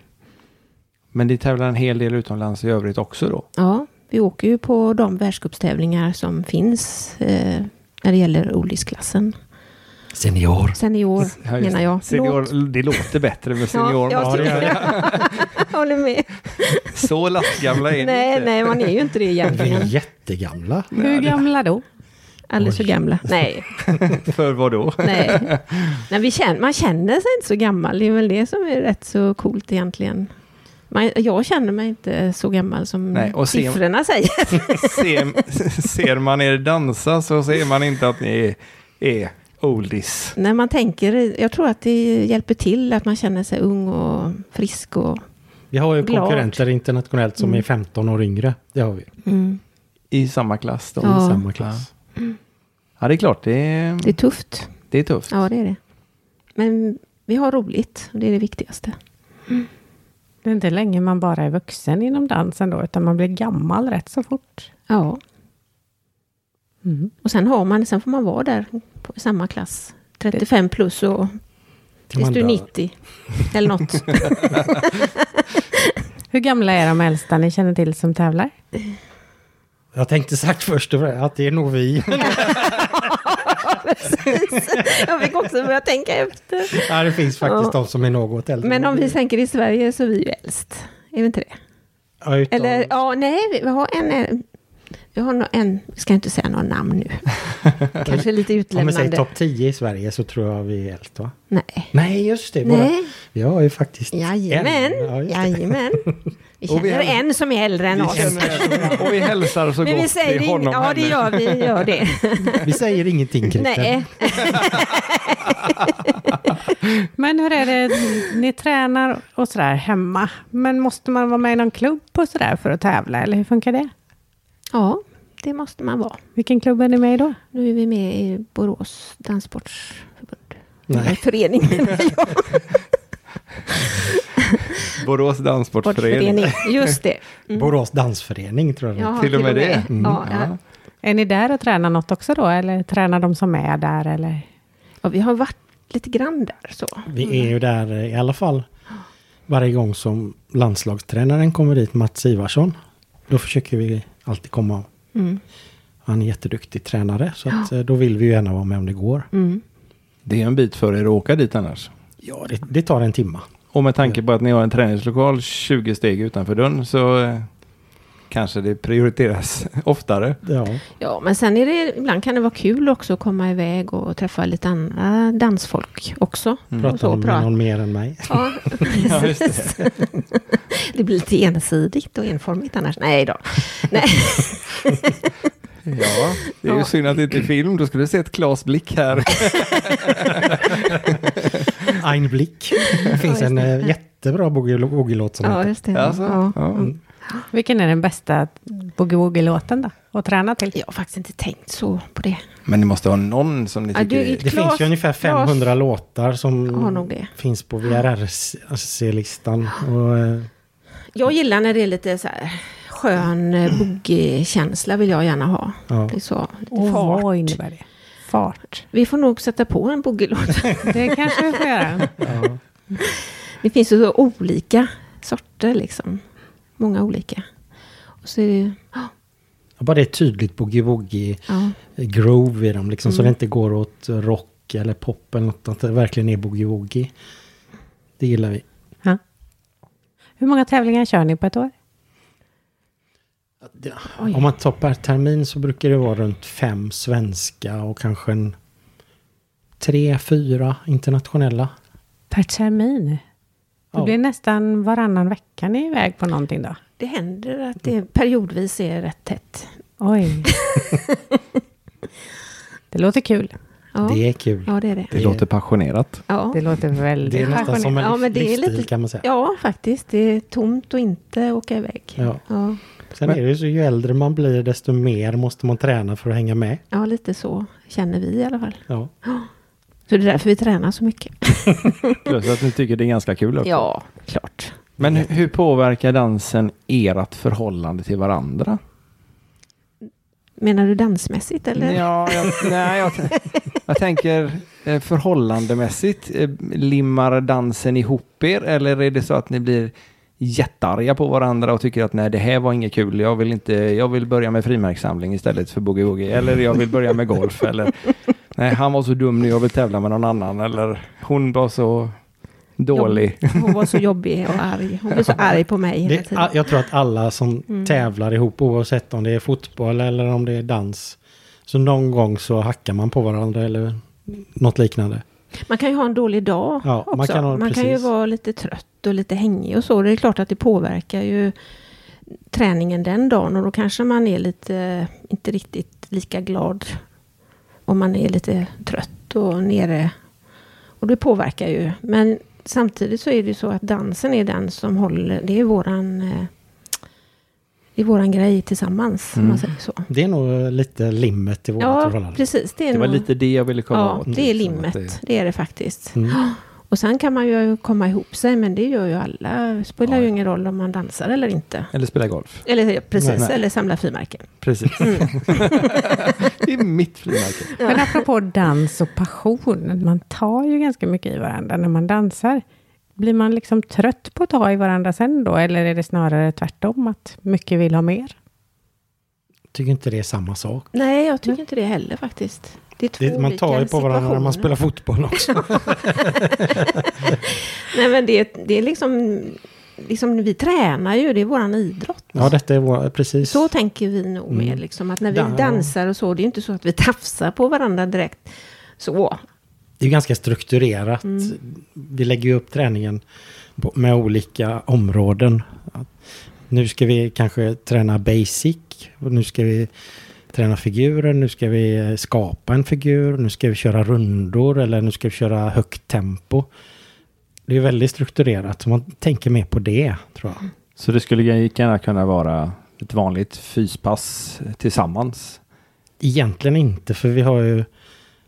[SPEAKER 1] Men det tävlar en hel del utomlands i övrigt också då?
[SPEAKER 3] Ja, vi åker ju på de världscupstävlingar som finns eh, när det gäller olycksklassen.
[SPEAKER 4] Senior.
[SPEAKER 3] Senior
[SPEAKER 1] Ja, just
[SPEAKER 3] menar
[SPEAKER 1] det.
[SPEAKER 3] jag. Förlåt.
[SPEAKER 1] Senior, det låter bättre med senior.
[SPEAKER 3] Ja, jag
[SPEAKER 4] det gör
[SPEAKER 3] tycker det. Jag håller med.
[SPEAKER 1] Så lastgamla är ni
[SPEAKER 3] Nej,
[SPEAKER 1] inte.
[SPEAKER 3] nej, man är ju inte det
[SPEAKER 4] Vi är
[SPEAKER 3] egentligen.
[SPEAKER 4] jättegamla.
[SPEAKER 2] Hur gamla då?
[SPEAKER 3] Alldeles för gamla. Nej,
[SPEAKER 1] För vad då?
[SPEAKER 3] nej. nej vi känner, man känner sig inte så gammal. Det är väl det som är rätt så coolt egentligen. Man, jag känner mig inte så gammal som
[SPEAKER 1] Nej, och se-
[SPEAKER 3] siffrorna säger.
[SPEAKER 1] ser, ser man er dansa så ser man inte att ni är, är oldies.
[SPEAKER 3] När man tänker, jag tror att det hjälper till att man känner sig ung och frisk och...
[SPEAKER 4] Vi har ju
[SPEAKER 3] Glad. Mm.
[SPEAKER 4] konkurrenter internationellt som är 15 år yngre. Det har vi. I
[SPEAKER 1] I samma klass då?
[SPEAKER 3] Ja.
[SPEAKER 4] samma klass.
[SPEAKER 1] Ja, det är klart. Det är,
[SPEAKER 3] Det är tufft.
[SPEAKER 1] det är tufft.
[SPEAKER 3] Ja, det är det. Men vi har roligt, och det är det viktigaste.
[SPEAKER 2] Det är inte länge man bara är vuxen inom dansen då, utan man blir gammal rätt så fort.
[SPEAKER 3] Ja.
[SPEAKER 2] Mm.
[SPEAKER 3] Och sen har man, sen får man vara där på samma klass. 35 plus och tills
[SPEAKER 4] man
[SPEAKER 3] du är
[SPEAKER 4] dör.
[SPEAKER 3] 90. Eller något.
[SPEAKER 2] Hur gamla är de äldsta ni känner till som tävlar?
[SPEAKER 4] Jag tänkte sagt först och främst att det är nog vi.
[SPEAKER 3] Precis. jag fick också börja tänka efter.
[SPEAKER 4] ja, det finns faktiskt de som är något äldre.
[SPEAKER 3] Men om vi tänker i Sverige så är vi ju äldst. Är vi inte det?
[SPEAKER 4] Ja, utan,
[SPEAKER 3] Eller ja, nej, vi- vi har en... eh, Vi har nog en, vi ska inte säga några namn nu. Kanske lite
[SPEAKER 4] om vi säger
[SPEAKER 3] utlämnande.
[SPEAKER 4] topp 10 i Sverige så tror jag vi är äldst va?
[SPEAKER 3] Nej.
[SPEAKER 4] Nej, just det. Våra,
[SPEAKER 3] Nej.
[SPEAKER 4] Vi har ju faktiskt
[SPEAKER 3] Jajamän,
[SPEAKER 4] en. Ja, just det.
[SPEAKER 3] jajamän. Vi
[SPEAKER 1] Och vi
[SPEAKER 3] känner
[SPEAKER 1] har-
[SPEAKER 3] en som är äldre än
[SPEAKER 1] Vi
[SPEAKER 3] oss.
[SPEAKER 1] känner- och vi hälsar så
[SPEAKER 3] Men vi
[SPEAKER 1] gott
[SPEAKER 3] säger
[SPEAKER 1] till
[SPEAKER 3] ing-
[SPEAKER 1] honom
[SPEAKER 3] Ja, det
[SPEAKER 1] henne.
[SPEAKER 3] gör vi. Gör det.
[SPEAKER 4] Vi säger ingenting Christer.
[SPEAKER 3] Nej.
[SPEAKER 2] Men hur är det, ni tränar och sådär hemma, men måste man vara med i någon klubb och sådär för att tävla, eller hur funkar det?
[SPEAKER 3] Ja, det måste man vara.
[SPEAKER 2] Vilken klubb är ni med i då?
[SPEAKER 3] Nu är vi med i Borås Danssportsförbund.
[SPEAKER 4] Nej.
[SPEAKER 3] Nej. Förening.
[SPEAKER 1] Borås
[SPEAKER 3] Sportförening. Mm,
[SPEAKER 1] Danssportförening.
[SPEAKER 3] Just det.
[SPEAKER 4] Borås dansförening tror jag.
[SPEAKER 3] Ja,
[SPEAKER 1] Till och med det.
[SPEAKER 3] Ja, ja.
[SPEAKER 2] Är ni där och tränar något också då, eller tränar de som är där, eller?
[SPEAKER 3] ja, vi har varit lite grann där så.
[SPEAKER 4] Vi är ju där eh, i alla fall varje gång som landslagstränaren kommer dit, Mats Ivarsson. Då försöker vi alltid komma.
[SPEAKER 3] Mm.
[SPEAKER 4] Han är jätteduktig tränare så att, eh, då vill vi ju gärna vara med om det går.
[SPEAKER 3] Mm.
[SPEAKER 1] Det är en bit för er att åka dit annars.
[SPEAKER 4] Ja, det, det tar en timma.
[SPEAKER 1] Och med tanke på att ni har en träningslokal 20 steg utanför dörren så eh, kanske det prioriteras oftare.
[SPEAKER 4] Ja, Mm.
[SPEAKER 3] Ja, men sen är det, ibland kan det vara kul också att komma iväg och träffa lite andra dansfolk också. Och
[SPEAKER 4] pratar
[SPEAKER 3] så
[SPEAKER 4] om med
[SPEAKER 3] Mm. prata.
[SPEAKER 4] någon mer än mig.
[SPEAKER 3] Ja, precis. Det blir lite ensidigt och enformigt annars. Nej då. Nej.
[SPEAKER 1] Ja, det är ju
[SPEAKER 3] Ja.
[SPEAKER 1] synd att det inte är film. Då skulle du se ett Klas blick här.
[SPEAKER 4] Ein Blick. Det finns en eh, jättebra boogie- boogie-låt som
[SPEAKER 3] Ja,
[SPEAKER 4] heter.
[SPEAKER 3] just det.
[SPEAKER 1] Alltså,
[SPEAKER 3] Ja.
[SPEAKER 1] ja.
[SPEAKER 2] Vilken är den bästa boogie-woogie-låten då, att träna till?
[SPEAKER 3] Jag har faktiskt inte tänkt så på det.
[SPEAKER 1] Men ni måste ha någon som ni
[SPEAKER 3] Ja,
[SPEAKER 1] tycker
[SPEAKER 3] du-
[SPEAKER 1] är...
[SPEAKER 4] Det
[SPEAKER 3] Claes-
[SPEAKER 4] finns ju ungefär 500 låtar som
[SPEAKER 3] Har nog det.
[SPEAKER 4] finns på VRRC-listan. Och, eh,
[SPEAKER 3] Jag gillar när det är lite så här skön eh, boogie-känsla vill jag gärna ha.
[SPEAKER 4] Mm. Ja.
[SPEAKER 3] Det är så, lite
[SPEAKER 2] Och
[SPEAKER 3] fart.
[SPEAKER 2] vad innebär det? Fart.
[SPEAKER 3] Vi får nog sätta på en boogie-låt.
[SPEAKER 2] Det kanske vi får göra.
[SPEAKER 3] det finns ju så olika sorter liksom. Många olika. Och så är det, ja,
[SPEAKER 4] bara det är tydligt boogie-woogie.
[SPEAKER 3] ja,
[SPEAKER 4] groove i dem liksom.
[SPEAKER 3] Mm.
[SPEAKER 4] Så det inte går åt rock eller pop eller något. Att det verkligen är boogie-woogie. Det gillar vi.
[SPEAKER 2] Ja. Hur många tävlingar kör ni på ett år?
[SPEAKER 3] Oj.
[SPEAKER 4] Om man tar per termin så brukar det vara runt fem svenska och kanske en tre, fyra internationella.
[SPEAKER 2] Per termin? Det
[SPEAKER 4] Ja.
[SPEAKER 2] blir nästan varannan vecka ni är iväg på någonting då?
[SPEAKER 3] Det händer att det periodvis är rätt tätt.
[SPEAKER 2] Oj. det låter kul.
[SPEAKER 3] Ja,
[SPEAKER 4] Det är kul.
[SPEAKER 3] ja det är det.
[SPEAKER 1] Det låter passionerat.
[SPEAKER 3] Ja.
[SPEAKER 2] Det låter väldigt...
[SPEAKER 4] Det är nästan som en
[SPEAKER 3] Ja, men det är
[SPEAKER 4] livsstil
[SPEAKER 3] lite-
[SPEAKER 4] kan man säga.
[SPEAKER 3] ja, faktiskt. Det är tomt och inte åka iväg.
[SPEAKER 4] Ja.
[SPEAKER 3] Ja,
[SPEAKER 4] Sen är det ju så ju äldre man blir desto mer måste man träna för att hänga med.
[SPEAKER 3] ja lite så känner vi i alla fall.
[SPEAKER 4] Ja.
[SPEAKER 3] Så det är därför vi tränar så mycket.
[SPEAKER 1] Plus att ni tycker det är ganska kul också.
[SPEAKER 3] Ja, klart.
[SPEAKER 1] Men hur- hur påverkar dansen ert förhållande till varandra?
[SPEAKER 3] Menar du dansmässigt eller?
[SPEAKER 1] Ja, jag, nej, jag, jag tänker eh, förhållandemässigt. eh, Limmar dansen ihop er eller är det så att ni blir jättearga på varandra och tycker att nej, det här var inget kul. Jag vill, inte, jag vill börja med frimärkssamling istället för boogie-woogie. Eller jag vill börja med golf. eller nej, han var så dum nu, jag vill tävla med någon annan. Eller hon var så dålig.
[SPEAKER 3] Hon var så jobbig och arg. Hon blev så arg på mig hela
[SPEAKER 4] Det,
[SPEAKER 3] tiden. Mm.
[SPEAKER 4] a- jag tror att alla som tävlar ihop oavsett om det är fotboll eller om det är dans. Så någon gång så hackar man på varandra eller något liknande.
[SPEAKER 3] Man kan ju ha en dålig dag
[SPEAKER 4] Ja,
[SPEAKER 3] också.
[SPEAKER 4] man kan ha-
[SPEAKER 3] ju
[SPEAKER 4] precis.
[SPEAKER 3] vara lite trött och lite hängig och så. Det är klart att det påverkar ju träningen den dagen och då kanske man är lite, inte riktigt lika glad. Om man är lite trött och nere. Och det påverkar ju. Men samtidigt så är det ju så att dansen är den som håller, det är våran, eh, det är våran grej tillsammans. Om
[SPEAKER 4] Mm.
[SPEAKER 3] man säger så.
[SPEAKER 4] Det är nog lite limmet i vårt
[SPEAKER 3] Ja,
[SPEAKER 4] förhållande.
[SPEAKER 3] precis. Det, är
[SPEAKER 1] Det var
[SPEAKER 3] nog-
[SPEAKER 1] lite det jag ville komma
[SPEAKER 3] ja,
[SPEAKER 1] åt.
[SPEAKER 3] det är
[SPEAKER 1] liksom, att
[SPEAKER 3] limmet.
[SPEAKER 1] det-
[SPEAKER 3] Det... är det faktiskt.
[SPEAKER 4] Mm.
[SPEAKER 3] Och sen kan man ju komma ihop sig, men det gör ju alla. Det spelar
[SPEAKER 1] Ja,
[SPEAKER 3] ju
[SPEAKER 1] ja.
[SPEAKER 3] ingen roll om man dansar eller inte.
[SPEAKER 1] Eller spela golf.
[SPEAKER 3] Eller ja, precis,
[SPEAKER 1] Nej, nej.
[SPEAKER 3] eller samlar frimärken.
[SPEAKER 1] Precis. det är mitt frimärke.
[SPEAKER 2] Men apropå dans och passion, man tar ju ganska mycket i varandra när man dansar. Blir man liksom trött på att ta i varandra sen då, eller är det snarare tvärtom, att mycket vill ha mer?
[SPEAKER 4] Tycker inte det är samma sak.
[SPEAKER 3] Nej, jag tycker inte det heller faktiskt. Det är två
[SPEAKER 4] Det, man tar
[SPEAKER 3] olika
[SPEAKER 4] ju på varandra när man spelar
[SPEAKER 3] situationer.
[SPEAKER 4] fotboll också.
[SPEAKER 3] Nej, men det, är- det är liksom, liksom... Vi tränar ju, det är våran idrott.
[SPEAKER 4] ja, Mm. detta är vår, precis.
[SPEAKER 3] Så tänker vi nog mer, liksom, att när vi
[SPEAKER 4] Där, ja.
[SPEAKER 3] dansar och så, det är ju inte så att vi tafsar på varandra direkt. Så,
[SPEAKER 4] Det är ganska strukturerat. Vi lägger ju upp träningen på- med olika områden. Att Nu ska vi kanske träna basic. Och nu ska vi träna figurer. Nu ska vi skapa en figur. Nu ska vi köra rundor. Eller nu ska vi köra högt tempo. Det är väldigt strukturerat. Så man tänker mer på det, tror jag.
[SPEAKER 1] Så det skulle gärna kunna vara ett vanligt fyspass tillsammans.
[SPEAKER 4] Egentligen inte, för vi har ju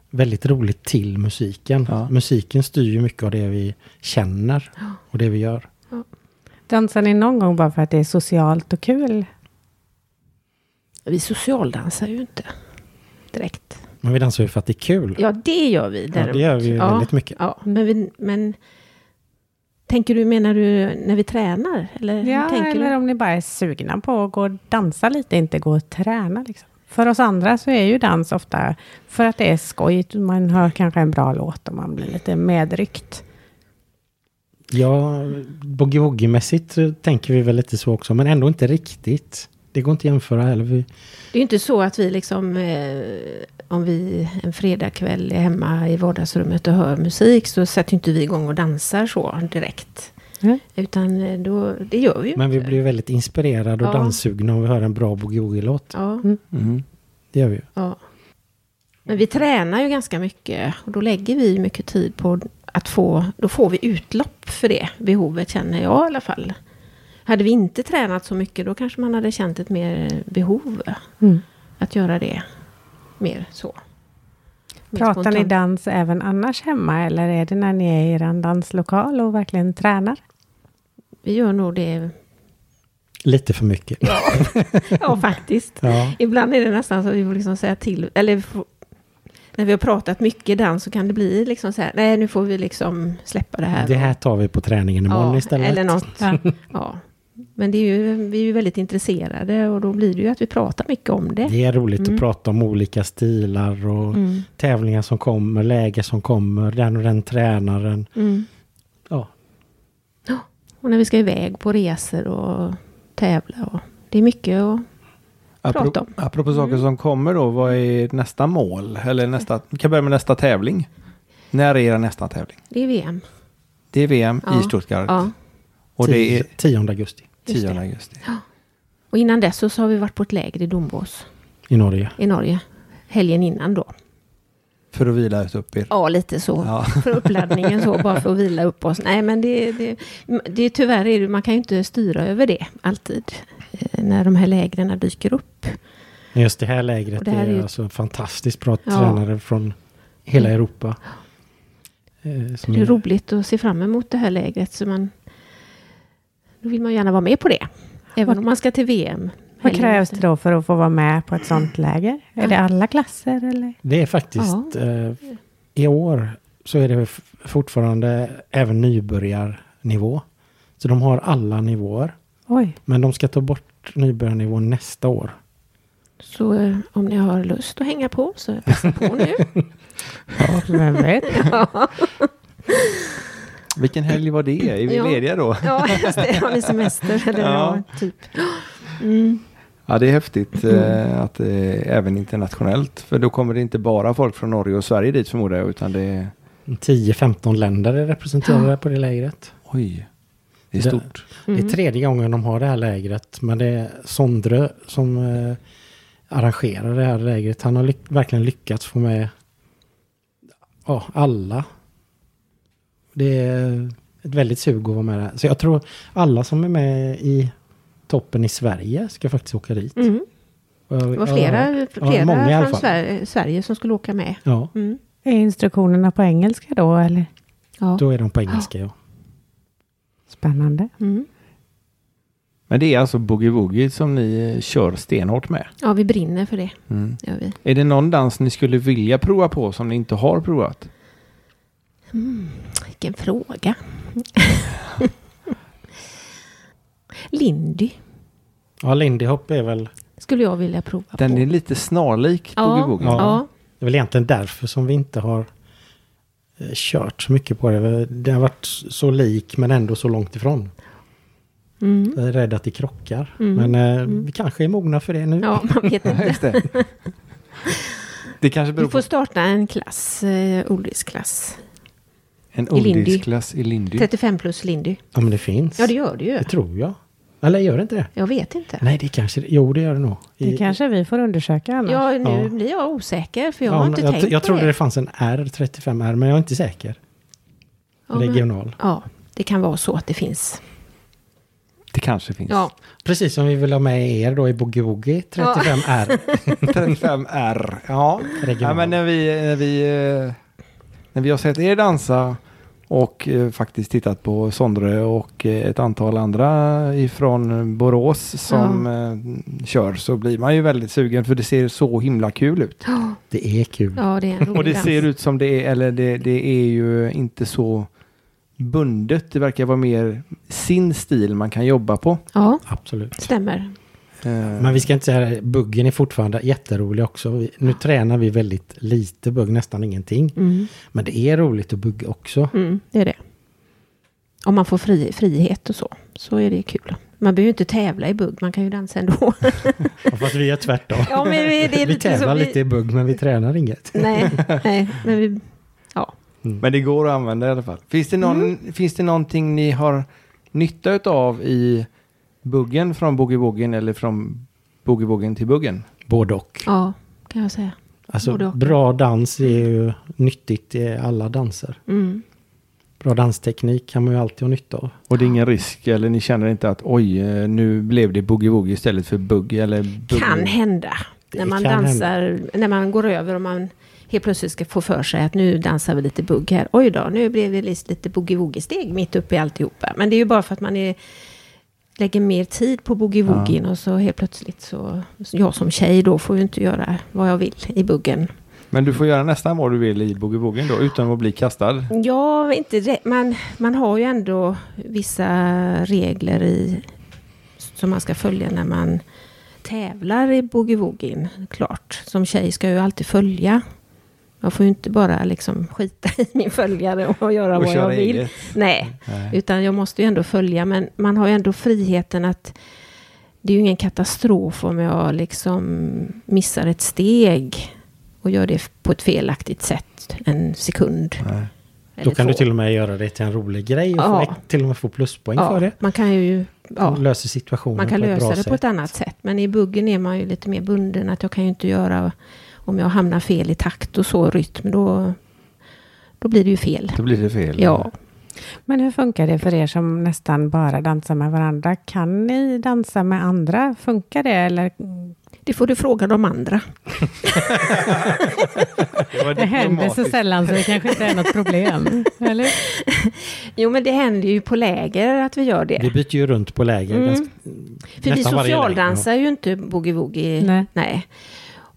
[SPEAKER 4] väldigt roligt till musiken.
[SPEAKER 1] Ja.
[SPEAKER 4] Musiken styr ju mycket av det vi känner och det vi gör.
[SPEAKER 2] Dansar ni någon gång bara för att det är socialt och kul?
[SPEAKER 3] vi socialdansar ju inte direkt.
[SPEAKER 4] Men vi dansar ju för att det är kul.
[SPEAKER 3] Ja, det gör vi
[SPEAKER 4] Ja,
[SPEAKER 3] däremot.
[SPEAKER 4] det gör vi ju
[SPEAKER 3] Ja,
[SPEAKER 4] väldigt mycket.
[SPEAKER 3] Ja, men, vi, men tänker du, menar du när vi tränar? Eller hur
[SPEAKER 2] Ja,
[SPEAKER 3] tänker
[SPEAKER 2] eller
[SPEAKER 3] du?
[SPEAKER 2] om ni bara är sugna på att gå och dansa lite, inte gå och träna. Liksom. För oss andra så är ju dans ofta för att det är skojigt. Man hör kanske en bra låt och man blir lite medryckt.
[SPEAKER 4] Ja, boogie-woogie-mässigt så tänker vi väl lite så också, men ändå inte riktigt. Det går inte att jämföra heller. Vi,
[SPEAKER 3] Det är ju inte så att vi liksom, eh, om vi en fredagkväll är hemma i vardagsrummet och hör musik så sätter ju inte vi igång och dansar så direkt.
[SPEAKER 2] Mm.
[SPEAKER 3] Utan eh, då, det gör vi ju
[SPEAKER 4] men vi
[SPEAKER 3] inte.
[SPEAKER 4] blir ju väldigt inspirerade och
[SPEAKER 3] Ja.
[SPEAKER 4] danssugna om vi hör en bra boogie-woogie-låt.
[SPEAKER 3] Ja,
[SPEAKER 1] Mm-hmm.
[SPEAKER 4] Det gör vi ju.
[SPEAKER 3] ja. Men vi tränar ju ganska mycket och då lägger vi mycket tid på att få, då får vi utlopp för det behovet känner jag i alla fall. Hade vi inte tränat så mycket då kanske man hade känt ett mer behov
[SPEAKER 2] Mm.
[SPEAKER 3] att göra det mer så. Mer
[SPEAKER 2] Pratar ni
[SPEAKER 3] spontant.
[SPEAKER 2] dans även annars hemma eller är det när ni är i er danslokal och verkligen tränar?
[SPEAKER 3] Vi gör nog det,
[SPEAKER 4] Lite för mycket. Ja.
[SPEAKER 3] ja faktiskt. Ibland är det nästan så att vi får liksom säga till, eller vi får, när vi har pratat mycket dans så kan det bli liksom så här, nej nu får vi liksom släppa det här.
[SPEAKER 4] Det här tar vi på träningen imorgon
[SPEAKER 3] ja,
[SPEAKER 4] istället.
[SPEAKER 3] Eller något. Ja. Men det är ju, vi är ju väldigt intresserade och då blir det ju att vi pratar mycket om det.
[SPEAKER 4] Det är roligt
[SPEAKER 3] Mm.
[SPEAKER 4] att prata om olika stilar och tävlingar som kommer, läger som kommer, den och den tränaren.
[SPEAKER 3] Mm.
[SPEAKER 4] Ja,
[SPEAKER 3] Och när vi ska iväg på resor och tävla. Och, det är mycket och Prata om. Mm.
[SPEAKER 1] apropå saker som kommer då, vad är nästa mål? Eller nästa, vi kan börja med nästa tävling. När är era nästa tävling?
[SPEAKER 3] det är VM.
[SPEAKER 1] Det är VM
[SPEAKER 3] Ja.
[SPEAKER 1] i Stuttgart.
[SPEAKER 3] Ja.
[SPEAKER 1] Och det är
[SPEAKER 4] 10 augusti.
[SPEAKER 3] Just
[SPEAKER 1] 10
[SPEAKER 3] det.
[SPEAKER 1] augusti.
[SPEAKER 3] Och innan dess så, så har vi varit på ett läger i Dombås
[SPEAKER 4] i Norge.
[SPEAKER 3] i Norge. Helgen innan då.
[SPEAKER 1] För att vila ut upp er.
[SPEAKER 3] Ja, lite så.
[SPEAKER 1] Ja.
[SPEAKER 3] För uppladdningen så, bara för att vila upp oss. Nej, men det, det, det är tyvärr, är det, man kan ju inte styra över det alltid. eh, När de här lägren dyker upp.
[SPEAKER 4] Men Just det här lägret
[SPEAKER 3] Och det här
[SPEAKER 4] är,
[SPEAKER 3] är ju-
[SPEAKER 4] alltså fantastiskt bra
[SPEAKER 3] Ja. Mm.
[SPEAKER 4] tränare från hela Europa. Eh, som
[SPEAKER 3] Det är
[SPEAKER 4] är-
[SPEAKER 3] roligt att se fram emot det här lägret. Så man, då vill man gärna vara med på det. Även om man ska till VM.
[SPEAKER 2] Vad
[SPEAKER 3] helgen
[SPEAKER 2] krävs det
[SPEAKER 3] efter.
[SPEAKER 2] då för att få vara med på ett sånt läger? Är det alla klasser eller?
[SPEAKER 4] Det är faktiskt eh, i år så är det f- fortfarande även nybörjarnivå. Så de har alla nivåer.
[SPEAKER 2] Oj,
[SPEAKER 4] Men de ska ta bort nybörjarnivån nästa år.
[SPEAKER 3] Så eh, om ni har lust att hänga på så passa på nu.
[SPEAKER 2] vem vet?
[SPEAKER 1] Vilken helg var det? Är vi
[SPEAKER 3] Ja.
[SPEAKER 1] lediga då?
[SPEAKER 3] ja, just det. Har ni semester? Eller
[SPEAKER 1] Ja.
[SPEAKER 3] ja. typ. Mm.
[SPEAKER 1] Ja, det är häftigt eh, att det är även internationellt. För då kommer det inte bara folk från Norge och Sverige dit förmodar jag, utan det är...
[SPEAKER 4] 10-15 länder är representerade på det lägret.
[SPEAKER 1] Oj, det är
[SPEAKER 4] Det-
[SPEAKER 1] stort.
[SPEAKER 3] Mm.
[SPEAKER 4] Det är tredje gången de har det här lägret. Men det är Sondre som eh, arrangerar det här lägret. Han har lyck- verkligen lyckats få med ja, alla. Det är ett väldigt sug att vara med där. Så jag tror alla som är med i toppen i Sverige ska faktiskt åka dit.
[SPEAKER 3] Mm.
[SPEAKER 4] Och-
[SPEAKER 3] Det var
[SPEAKER 4] ja,
[SPEAKER 3] flera, flera
[SPEAKER 4] många i alla
[SPEAKER 3] från
[SPEAKER 4] fall.
[SPEAKER 3] Sverige, Sverige som skulle åka med.
[SPEAKER 4] Ja,
[SPEAKER 3] Mm.
[SPEAKER 2] Är instruktionerna på engelska då eller?
[SPEAKER 3] Ja.
[SPEAKER 4] då är de på engelska. Ja.
[SPEAKER 2] Spännande.
[SPEAKER 3] Mm.
[SPEAKER 1] Men det är alltså boogie-woogie som ni eh, kör stenhårt med?
[SPEAKER 3] ja, vi brinner för det.
[SPEAKER 1] Mm.
[SPEAKER 3] Gör vi.
[SPEAKER 1] Är det någon dans ni skulle vilja prova på som ni inte har provat?
[SPEAKER 3] Mm. Vilken fråga. Lindy
[SPEAKER 4] ja, Lindy Hop är väl,
[SPEAKER 3] skulle jag vilja prova
[SPEAKER 1] Den
[SPEAKER 3] på.
[SPEAKER 1] är lite snarlik
[SPEAKER 3] Ja.
[SPEAKER 1] boogie-woogie.
[SPEAKER 4] Ja.
[SPEAKER 3] Ja,
[SPEAKER 4] det är väl egentligen därför som vi inte har eh, kört så mycket på det. Det har varit så lik men ändå så långt ifrån.
[SPEAKER 3] mm.
[SPEAKER 4] Jag är rädd att det krockar.
[SPEAKER 3] Mm.
[SPEAKER 4] Men eh, vi kanske är mogna för det nu.
[SPEAKER 3] ja man vet
[SPEAKER 1] Ja,
[SPEAKER 3] inte.
[SPEAKER 1] Just det. det kanske beror
[SPEAKER 3] Vi
[SPEAKER 1] på
[SPEAKER 3] får starta en klass, eh, oldiesklass.
[SPEAKER 1] en
[SPEAKER 3] i Lindy.
[SPEAKER 1] oldiesklass i Lindy.
[SPEAKER 3] 35 plus Lindy.
[SPEAKER 4] Ja, men det finns.
[SPEAKER 3] Ja, det gör det ju.
[SPEAKER 4] Det tror jag. Eller gör det inte det?
[SPEAKER 3] Jag vet inte.
[SPEAKER 4] Nej, det kanske Jo, det gör det nog. I-
[SPEAKER 2] Det kanske vi får undersöka annars.
[SPEAKER 3] Ja, nu
[SPEAKER 4] Ja.
[SPEAKER 3] blir jag osäker för
[SPEAKER 4] Ja,
[SPEAKER 3] jag har
[SPEAKER 4] men
[SPEAKER 3] inte
[SPEAKER 4] jag,
[SPEAKER 3] tänkt
[SPEAKER 4] jag
[SPEAKER 3] på
[SPEAKER 4] trodde
[SPEAKER 3] det.
[SPEAKER 4] det fanns en R35R, men jag är inte säker.
[SPEAKER 3] Ja, men-
[SPEAKER 4] Regional.
[SPEAKER 3] Ja, det kan vara så att det finns.
[SPEAKER 1] Det kanske finns.
[SPEAKER 3] Ja,
[SPEAKER 4] Precis som vi vill ha med er då i Boogie Woogie 35R.
[SPEAKER 1] 35R. Ja. ja,
[SPEAKER 4] Regional.
[SPEAKER 1] men när vi, när, vi, eh, när vi har sett er dansa och eh, faktiskt tittat på Sondre och eh, ett antal andra ifrån Borås som eh, kör så blir man ju väldigt sugen för det ser så himla kul ut.
[SPEAKER 4] Det är kul.
[SPEAKER 3] ja det är en rolig
[SPEAKER 1] Och det
[SPEAKER 3] dans.
[SPEAKER 1] ser ut som det är, eller det, det är ju inte så bundet. Det verkar vara mer sin stil man kan jobba på.
[SPEAKER 3] Ja,
[SPEAKER 4] Absolut.
[SPEAKER 3] stämmer.
[SPEAKER 1] Eh,
[SPEAKER 4] Men vi ska inte säga det, buggen är fortfarande jätterolig också. Vi, nu tränar vi väldigt lite bugg, nästan ingenting.
[SPEAKER 3] Mm.
[SPEAKER 4] Men det är roligt att bugga också.
[SPEAKER 3] Mm, det är det. Om man får fri, frihet och så, så är det kul. Man behöver ju inte tävla i bugg, man kan ju dansa ändå.
[SPEAKER 4] Ja, Fast vi är tvärtom.
[SPEAKER 3] ja, men vi, det
[SPEAKER 4] Vi
[SPEAKER 3] är lite
[SPEAKER 4] tävlar
[SPEAKER 3] som vi-
[SPEAKER 4] lite i bugg, men vi tränar inget. Mm.
[SPEAKER 3] Nej, nej, men vi... Ja.
[SPEAKER 1] Men det går att använda i alla fall. Finns det, någon, finns det någonting ni har nytta av i buggen från boogie-woogien eller från boogie-woogien till buggen?
[SPEAKER 4] Både och.
[SPEAKER 3] ja, kan jag säga. både
[SPEAKER 4] Alltså
[SPEAKER 3] och.
[SPEAKER 4] bra dans är ju nyttigt i alla danser.
[SPEAKER 3] Mm.
[SPEAKER 4] Bra dansteknik kan man ju alltid ha nytta av.
[SPEAKER 1] Och det är ingen risk eller ni känner inte att oj eh, nu blev det boogie-woogie istället för bugg eller boogie
[SPEAKER 3] Kan hända.
[SPEAKER 4] Det
[SPEAKER 3] när man
[SPEAKER 4] kan
[SPEAKER 3] dansar, när man går över och man helt plötsligt ska få för sig att nu dansar vi lite bugg här. Oj då, nu blev det lite lite boogie-woogie-steg mitt uppe i alltihopa. Men det är ju bara för att man är, lägger mer tid på boogie-woogien och så helt plötsligt så, så jag som tjej då får ju inte göra vad jag vill i buggen.
[SPEAKER 1] Men du får göra nästan vad du vill i boogie-woogien då utan att bli kastad.
[SPEAKER 3] Ja, inte det. Man, man har ju ändå vissa regler i, som man ska följa när man tävlar i boogie-woogien, klart. Som tjej ska jag ju alltid följa. Jag får ju inte bara liksom skita i min följare och göra
[SPEAKER 1] Och
[SPEAKER 3] vad jag
[SPEAKER 1] köra
[SPEAKER 3] vill.
[SPEAKER 1] eget.
[SPEAKER 3] Nej,
[SPEAKER 1] Nej.
[SPEAKER 3] utan jag måste ju ändå följa. Men man har ju ändå friheten att det är ju ingen katastrof om jag liksom missar ett steg och gör det på ett felaktigt sätt en sekund
[SPEAKER 1] Nej.
[SPEAKER 3] Eller
[SPEAKER 4] Då kan du
[SPEAKER 3] två.
[SPEAKER 4] till och med göra det till en rolig grej och
[SPEAKER 3] Ja.
[SPEAKER 4] få, till och med få pluspoäng för det.
[SPEAKER 3] ja, Man kan ju ja,
[SPEAKER 4] Löser situationen
[SPEAKER 3] man kan
[SPEAKER 4] på ett
[SPEAKER 3] lösa
[SPEAKER 4] bra
[SPEAKER 3] det
[SPEAKER 4] sätt.
[SPEAKER 3] på ett annat sätt. Men i buggen är man ju lite mer bunden. Att jag kan ju inte göra om jag hamnar fel i takt och så rytm. Då, då blir det ju fel.
[SPEAKER 1] Då blir det fel.
[SPEAKER 3] Ja.
[SPEAKER 2] Men hur funkar det för er som nästan bara dansar med varandra? Kan ni dansa med andra? Funkar det? Eller
[SPEAKER 3] Det får du fråga de andra.
[SPEAKER 1] Det, var
[SPEAKER 2] det händer så
[SPEAKER 1] diplomatiskt.
[SPEAKER 2] sällan så det kanske inte är något problem. Eller?
[SPEAKER 3] Jo, men det händer ju på läger att vi gör det.
[SPEAKER 4] Vi byter ju runt på läger.
[SPEAKER 3] Mm.
[SPEAKER 4] ganska-
[SPEAKER 3] För vi
[SPEAKER 4] nästan varje läger,
[SPEAKER 3] socialdansar ju inte boogie-woogie.
[SPEAKER 2] Nej.
[SPEAKER 3] Nej.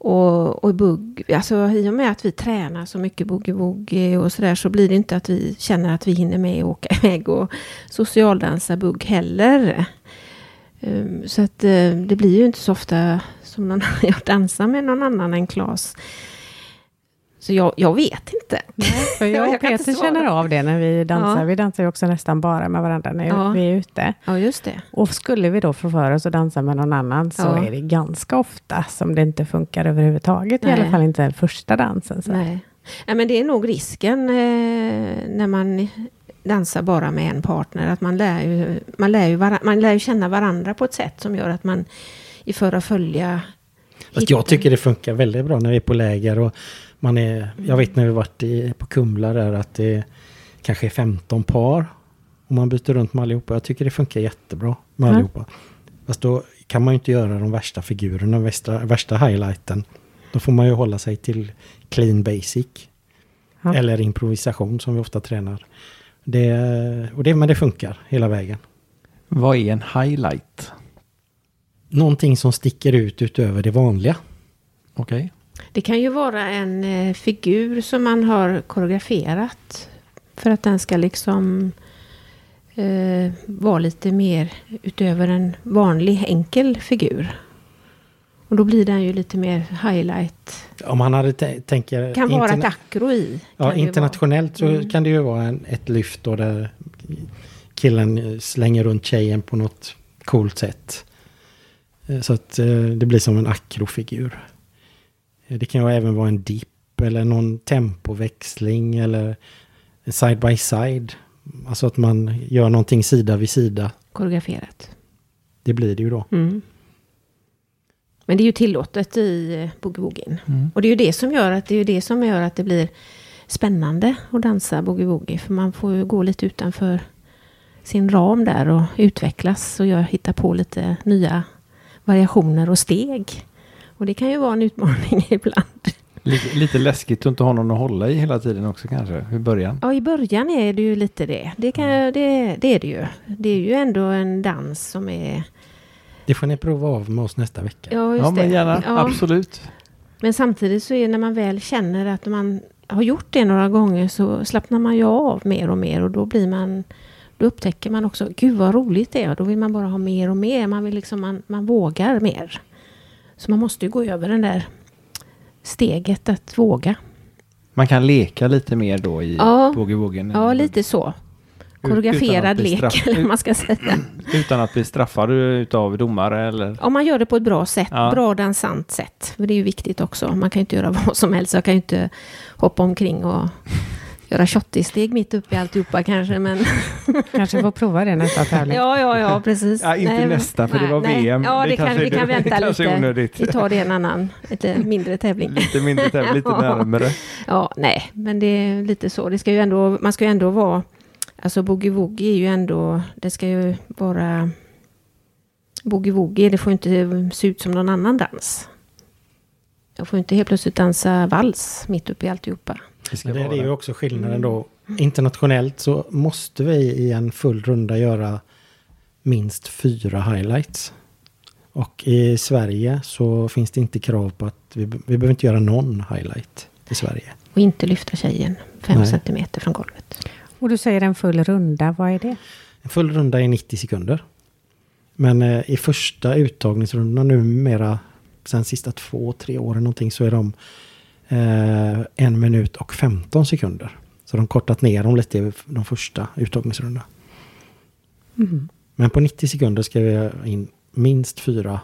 [SPEAKER 3] Och, och bugg, alltså i och med att vi tränar så mycket boogie-woogie och sådär så blir det inte att vi känner att vi hinner med att åka iväg och socialdansa bugg heller. Ehm, Så att eh, det blir ju inte så ofta som någon, jag dansar med någon annan än Claes. Så jag, jag vet inte.
[SPEAKER 2] För jag
[SPEAKER 3] Jag
[SPEAKER 2] och
[SPEAKER 3] kan inte
[SPEAKER 2] Peter
[SPEAKER 3] svara.
[SPEAKER 2] känner av det när vi dansar.
[SPEAKER 3] Ja.
[SPEAKER 2] Vi dansar ju också nästan bara med varandra när
[SPEAKER 3] Ja.
[SPEAKER 2] vi är ute.
[SPEAKER 3] Ja, just det.
[SPEAKER 2] Och skulle vi då få för oss att dansa med någon annan så
[SPEAKER 3] Ja.
[SPEAKER 2] är det ganska ofta som det inte funkar överhuvudtaget. I
[SPEAKER 3] Nej.
[SPEAKER 2] alla fall inte den första dansen. Så.
[SPEAKER 3] Nej. Nej, men det är nog risken eh, när man dansar bara med en partner. Att man lär, ju, man, lär ju vara, man lär ju känna varandra på ett sätt som gör att man i förra följa...
[SPEAKER 4] Fast jag tycker det funkar väldigt bra när vi är på läger. Och man är, jag vet när vi varit i, på Kumla där att det kanske är 15 par. Och man byter runt med allihopa. Jag tycker det funkar jättebra med
[SPEAKER 2] Ja.
[SPEAKER 4] allihopa. Fast då kan man ju inte göra de värsta figurerna, värsta, värsta highlighten. Då får man ju hålla sig till clean basic.
[SPEAKER 2] Ja.
[SPEAKER 4] Eller improvisation som vi ofta tränar. Det, och det, men det funkar hela vägen.
[SPEAKER 5] Vad är en highlight?
[SPEAKER 4] Någonting som sticker ut utöver det vanliga.
[SPEAKER 5] Okej.
[SPEAKER 3] Det kan ju vara en eh, figur som man har koreograferat för att den ska liksom eh, vara lite mer utöver en vanlig enkel figur. Och då blir den ju lite mer highlight.
[SPEAKER 4] Om man hade tä- tänker...
[SPEAKER 3] Kan vara
[SPEAKER 4] interna-
[SPEAKER 3] ett akro i. kan
[SPEAKER 4] Ja,
[SPEAKER 3] det ju vara. Mm.
[SPEAKER 4] internationellt så kan det ju vara en, ett lyft då där killen eh, slänger runt tjejen på något coolt sätt. Eh, Så att eh, det blir som en akrofigur. Eh, Det kan ju även vara en dipp eller någon tempoväxling eller en side by side. Alltså att man gör någonting sida vid sida.
[SPEAKER 3] koreograferat.
[SPEAKER 4] Det blir det ju då.
[SPEAKER 3] Mm. Men det är ju tillåtet i eh, boogie-woogien.
[SPEAKER 5] Mm.
[SPEAKER 3] Och det är ju det som gör att det är ju det som gör att det blir spännande att dansa boogie-woogie. För man får ju gå lite utanför sin ram där och utvecklas och göra- hitta på lite nya variationer och steg. Och det kan ju vara en utmaning ibland.
[SPEAKER 1] Lite, lite läskigt att inte ha någon att hålla i hela tiden också kanske, i början.
[SPEAKER 3] Ja, i början är det ju lite det. Det, kan,
[SPEAKER 5] Mm.
[SPEAKER 3] jag- det, det är det ju. Det är ju ändå en dans som är...
[SPEAKER 4] Det får ni prova av med oss nästa vecka.
[SPEAKER 3] Ja, just
[SPEAKER 5] Ja, men
[SPEAKER 3] det.
[SPEAKER 5] gärna.
[SPEAKER 3] Ja.
[SPEAKER 5] Absolut.
[SPEAKER 3] Men samtidigt så är när man väl känner att man har gjort det några gånger så slappnar man ju av mer och mer och då blir man då upptäcker man också, gud vad roligt det är. Och då vill man bara ha mer och mer. Man, vill liksom, man, man vågar mer. Så man måste ju gå över den där steget att våga.
[SPEAKER 1] Man kan leka lite mer då i
[SPEAKER 3] Ja.
[SPEAKER 1] boogie-woogien.
[SPEAKER 3] Ja, lite så. Koreograferad
[SPEAKER 1] bli
[SPEAKER 3] lek,
[SPEAKER 1] straff-
[SPEAKER 3] eller vad man ska säga.
[SPEAKER 1] Utan att bli straffad utav domare eller?
[SPEAKER 3] Om man gör det på ett bra sätt,
[SPEAKER 1] Ja.
[SPEAKER 3] bra dansant sätt. För det är ju viktigt också. Man kan ju inte göra vad som helst. Jag kan ju inte hoppa omkring och göra steg mitt uppe i alltihopa kanske. Men
[SPEAKER 2] Kanske får prova det nästa tävling.
[SPEAKER 3] ja, ja, ja, precis.
[SPEAKER 1] Ja, inte
[SPEAKER 3] men-
[SPEAKER 1] nästa, för det var VM.
[SPEAKER 3] Ja, det,
[SPEAKER 1] Det
[SPEAKER 3] kan,
[SPEAKER 1] kanske-
[SPEAKER 3] vi kan
[SPEAKER 1] det
[SPEAKER 3] vänta
[SPEAKER 1] kanske är
[SPEAKER 3] lite.
[SPEAKER 1] onödigt.
[SPEAKER 3] Vi tar det i en annan, lite mindre tävling.
[SPEAKER 1] Lite mindre tävling, lite
[SPEAKER 3] Ja.
[SPEAKER 1] närmare.
[SPEAKER 3] Ja, nej, men det är lite så. Det ska ju ändå, man ska ju ändå vara... Alltså boogie-woogie är ju ändå... Det ska ju vara... Boogie-woogie, det får ju inte se ut som någon annan dans. Jag får ju inte helt plötsligt dansa vals mitt uppe i alltihopa.
[SPEAKER 4] Men det, det är ju också skillnaden då. Internationellt så måste vi i en full runda göra minst fyra highlights. Och i Sverige så finns det inte krav på att vi, be- vi behöver inte göra någon highlight i Sverige.
[SPEAKER 3] Och inte lyfta tjejen fem
[SPEAKER 4] Nej.
[SPEAKER 3] centimeter från golvet.
[SPEAKER 2] Och du säger en full runda, vad är det?
[SPEAKER 4] En full runda är 90 sekunder. Men eh, i första uttagningsrundan numera, sen sista två, tre åren någonting, så är de eh, en minut och 15 sekunder. Så de har kortat ner dem lite i de första uttagningsrundan. Men på 90 sekunder ska vi ha in minst fyra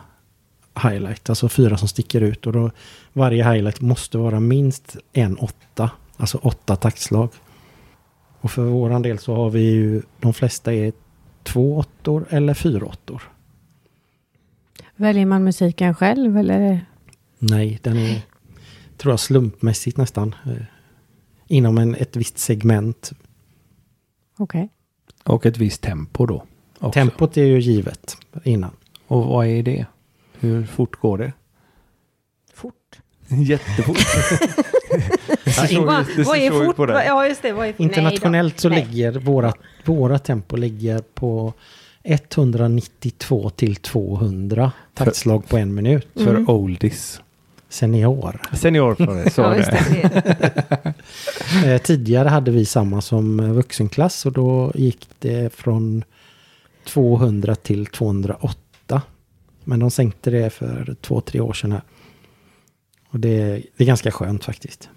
[SPEAKER 4] highlight, alltså fyra som sticker ut. Och då varje highlight måste vara minst en åtta, alltså åtta taktslag. Och för våran del så har vi ju, de flesta är två åttor eller fyra åttor.
[SPEAKER 2] Väljer man musiken själv eller?
[SPEAKER 4] Nej, den är, tror jag, slumpmässigt nästan. eh, Inom en, ett visst segment.
[SPEAKER 2] Okej.
[SPEAKER 5] Och ett visst tempo då. också.
[SPEAKER 4] Tempot är ju givet innan.
[SPEAKER 5] Och vad är det? Hur fort går det?
[SPEAKER 3] Fort.
[SPEAKER 5] Jättefort.
[SPEAKER 3] Vad, vad är fort? Vad- Ja, just det. Vad är,
[SPEAKER 4] Internationellt så
[SPEAKER 3] Nej.
[SPEAKER 4] ligger våra, våra tempo ligger på 192 till 200 taktslag på en minut.
[SPEAKER 5] För
[SPEAKER 3] Mm.
[SPEAKER 5] oldies.
[SPEAKER 4] Senior.
[SPEAKER 1] Senior för det, så
[SPEAKER 3] Ja,
[SPEAKER 1] är
[SPEAKER 3] just
[SPEAKER 1] det.
[SPEAKER 3] det. det.
[SPEAKER 4] Eh, tidigare hade vi samma som eh, vuxenklass och då gick det från 200 till 208. Men de sänkte det för två, tre år sedan här. Och det, det är ganska skönt faktiskt.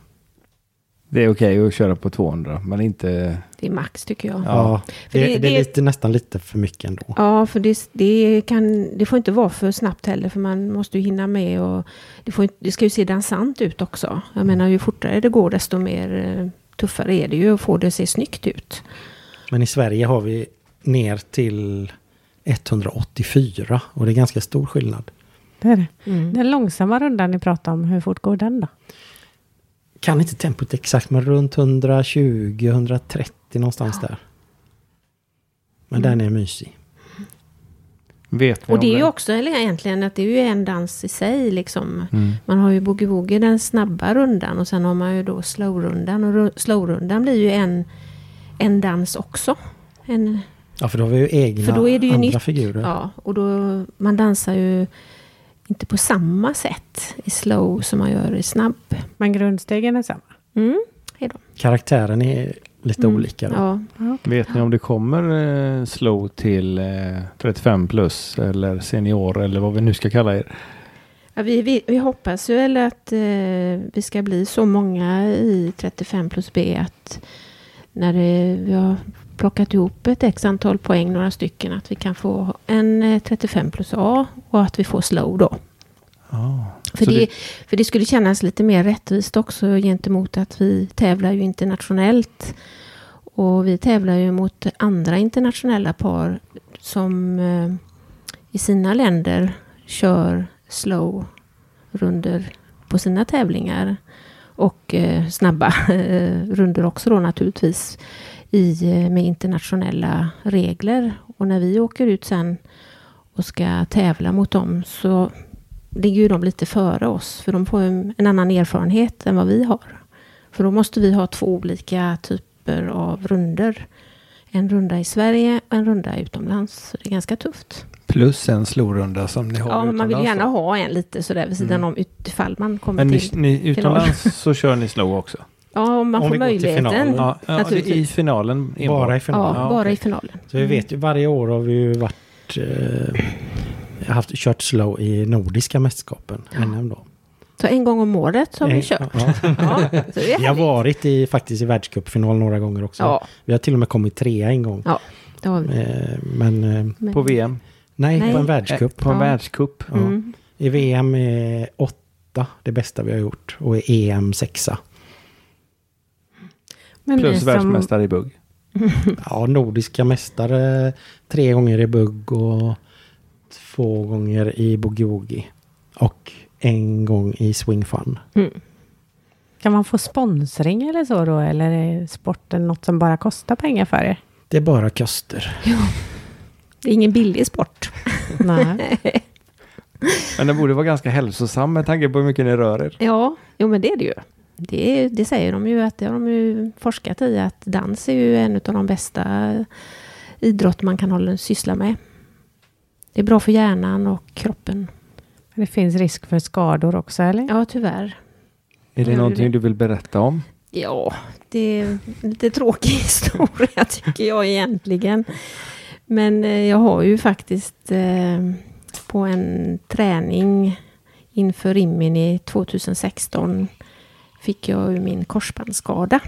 [SPEAKER 5] Det är okej att köra på 200 men inte...
[SPEAKER 3] det är max tycker jag. Ja,
[SPEAKER 4] Ja,
[SPEAKER 3] För
[SPEAKER 4] det,
[SPEAKER 3] det-
[SPEAKER 4] det,
[SPEAKER 3] det-
[SPEAKER 4] är lite, nästan lite för mycket ändå.
[SPEAKER 3] för det, det, kan, det får inte vara för snabbt heller för man måste ju hinna med och det, får, inte- det ska ju se dansant ut också. Jag menar ju fortare det går desto mer eh, tuffare är det ju att få det att se snyggt ut.
[SPEAKER 4] Men i Sverige har vi ner till 184 och det är ganska stor skillnad.
[SPEAKER 2] Det är det. Den långsamma rundan ni pratar om, hur fort går den då?
[SPEAKER 4] Kan inte tempot exakt, men runt 120-130 någonstans där. Men den är mysig.
[SPEAKER 5] Vet vi
[SPEAKER 3] Och
[SPEAKER 5] om
[SPEAKER 3] det är ju också eller egentligen att det är ju en dans i sig liksom.
[SPEAKER 5] Mm.
[SPEAKER 3] Man har ju boogie-woogie, den snabba rundan och sen har man ju då slow-rundan. Och ru- slow-rundan blir ju en, en dans också. En,
[SPEAKER 4] Ja, för då har vi ju egna
[SPEAKER 3] För då är det ju
[SPEAKER 4] andra
[SPEAKER 3] nytt.
[SPEAKER 4] figurer.
[SPEAKER 3] ja, och då, man dansar ju inte på samma sätt i slow som man gör i snabb.
[SPEAKER 2] Men grundstegen är samma.
[SPEAKER 3] Mm, hej då.
[SPEAKER 4] Karaktären är lite olika. Då.
[SPEAKER 3] Mm. Ja.
[SPEAKER 1] Mm.
[SPEAKER 5] Vet ni om det kommer eh, slow till eh, 35 plus eller senior eller vad vi nu ska kalla er?
[SPEAKER 3] Ja, vi, vi, vi hoppas ju eller att eh, vi ska bli så många i 35 plus B att när det, vi har plockat ihop ett x antal poäng, några stycken, att vi kan få en eh, 35 plus A och att vi får slow då. För
[SPEAKER 5] Så
[SPEAKER 3] det,
[SPEAKER 5] det-
[SPEAKER 3] för det skulle kännas lite mer rättvist också gentemot att vi tävlar ju internationellt. Och vi tävlar ju mot andra internationella par som eh, i sina länder kör slow runder på sina tävlingar. Och eh, snabba eh, runder också då naturligtvis i, eh, med internationella regler. Och när vi åker ut sen och ska tävla mot dem så ligger ju de lite före oss, för de får en, en annan erfarenhet än vad vi har. För då måste vi ha två olika typer av runder. En runda i Sverige och en runda utomlands. Så det är ganska tufft.
[SPEAKER 5] Plus en slowrunda som ni har
[SPEAKER 3] Ja, men man vill ju
[SPEAKER 5] utomlands
[SPEAKER 3] gärna
[SPEAKER 5] då.
[SPEAKER 3] ha en lite sådär vid
[SPEAKER 4] Mm.
[SPEAKER 3] sidan om utifall man kommer
[SPEAKER 5] Men ni,
[SPEAKER 3] till.
[SPEAKER 5] ni, utomlands så kör ni slow också?
[SPEAKER 3] Ja, om
[SPEAKER 4] Om vi
[SPEAKER 3] man får
[SPEAKER 4] går till
[SPEAKER 3] möjligheten.
[SPEAKER 4] finalen.
[SPEAKER 3] Ja,
[SPEAKER 5] Ja, ja det- i
[SPEAKER 3] Naturligtvis.
[SPEAKER 5] finalen enbart.
[SPEAKER 4] Bara i
[SPEAKER 3] bara
[SPEAKER 4] finalen.
[SPEAKER 5] okej.
[SPEAKER 3] i finalen.
[SPEAKER 4] Så vi vet ju, varje år har vi ju varit, eh, haft, kört slow i nordiska mästerskapen, NM då.
[SPEAKER 3] Så en gång om året så har vi
[SPEAKER 4] Eh,
[SPEAKER 3] kört.
[SPEAKER 4] ja.
[SPEAKER 3] Ja, så det är
[SPEAKER 4] Vi har
[SPEAKER 3] härligt.
[SPEAKER 4] varit i, faktiskt i världscupfinal några gånger också.
[SPEAKER 3] Ja.
[SPEAKER 4] Vi har till och med kommit trea en gång.
[SPEAKER 3] Ja, det har vi.
[SPEAKER 4] Eh, Men eh,
[SPEAKER 3] Men-
[SPEAKER 5] På VM?
[SPEAKER 4] nej,
[SPEAKER 3] Nej.
[SPEAKER 4] på en
[SPEAKER 5] Eh,
[SPEAKER 4] världscup.
[SPEAKER 5] På en
[SPEAKER 3] Ja.
[SPEAKER 5] världscup?
[SPEAKER 4] Ja.
[SPEAKER 3] Mm.
[SPEAKER 4] I VM är åtta det bästa vi har gjort och i EM sexa.
[SPEAKER 2] Men ni
[SPEAKER 5] Plus
[SPEAKER 2] som-
[SPEAKER 5] världsmästare i bugg?
[SPEAKER 4] Ja, nordiska mästare tre gånger i bugg och två gånger i boogie-woogie. Och en gång i swing fun.
[SPEAKER 2] Kan man få sponsring eller så då? Eller är sporten något som bara kostar pengar för er?
[SPEAKER 4] Det är bara köster.
[SPEAKER 3] Det är ingen billig sport.
[SPEAKER 2] Nej.
[SPEAKER 5] Men den borde vara ganska hälsosam med tanke på hur mycket ni rör er.
[SPEAKER 3] Ja, jo men det är det ju. Det, det säger de ju att det har de ju forskat i att dans är ju en av de bästa idrott man kan hålla syssla med. Det är bra för hjärnan och kroppen.
[SPEAKER 2] Det finns risk för skador också eller?
[SPEAKER 3] Ja, tyvärr.
[SPEAKER 5] Är det
[SPEAKER 3] Ja, det-
[SPEAKER 5] någonting du vill berätta om?
[SPEAKER 3] Ja, det är en lite tråkig historia tycker jag egentligen. Men eh, jag har ju faktiskt eh, på en träning inför Rimini 2016 fick jag ju min korsbandsskada.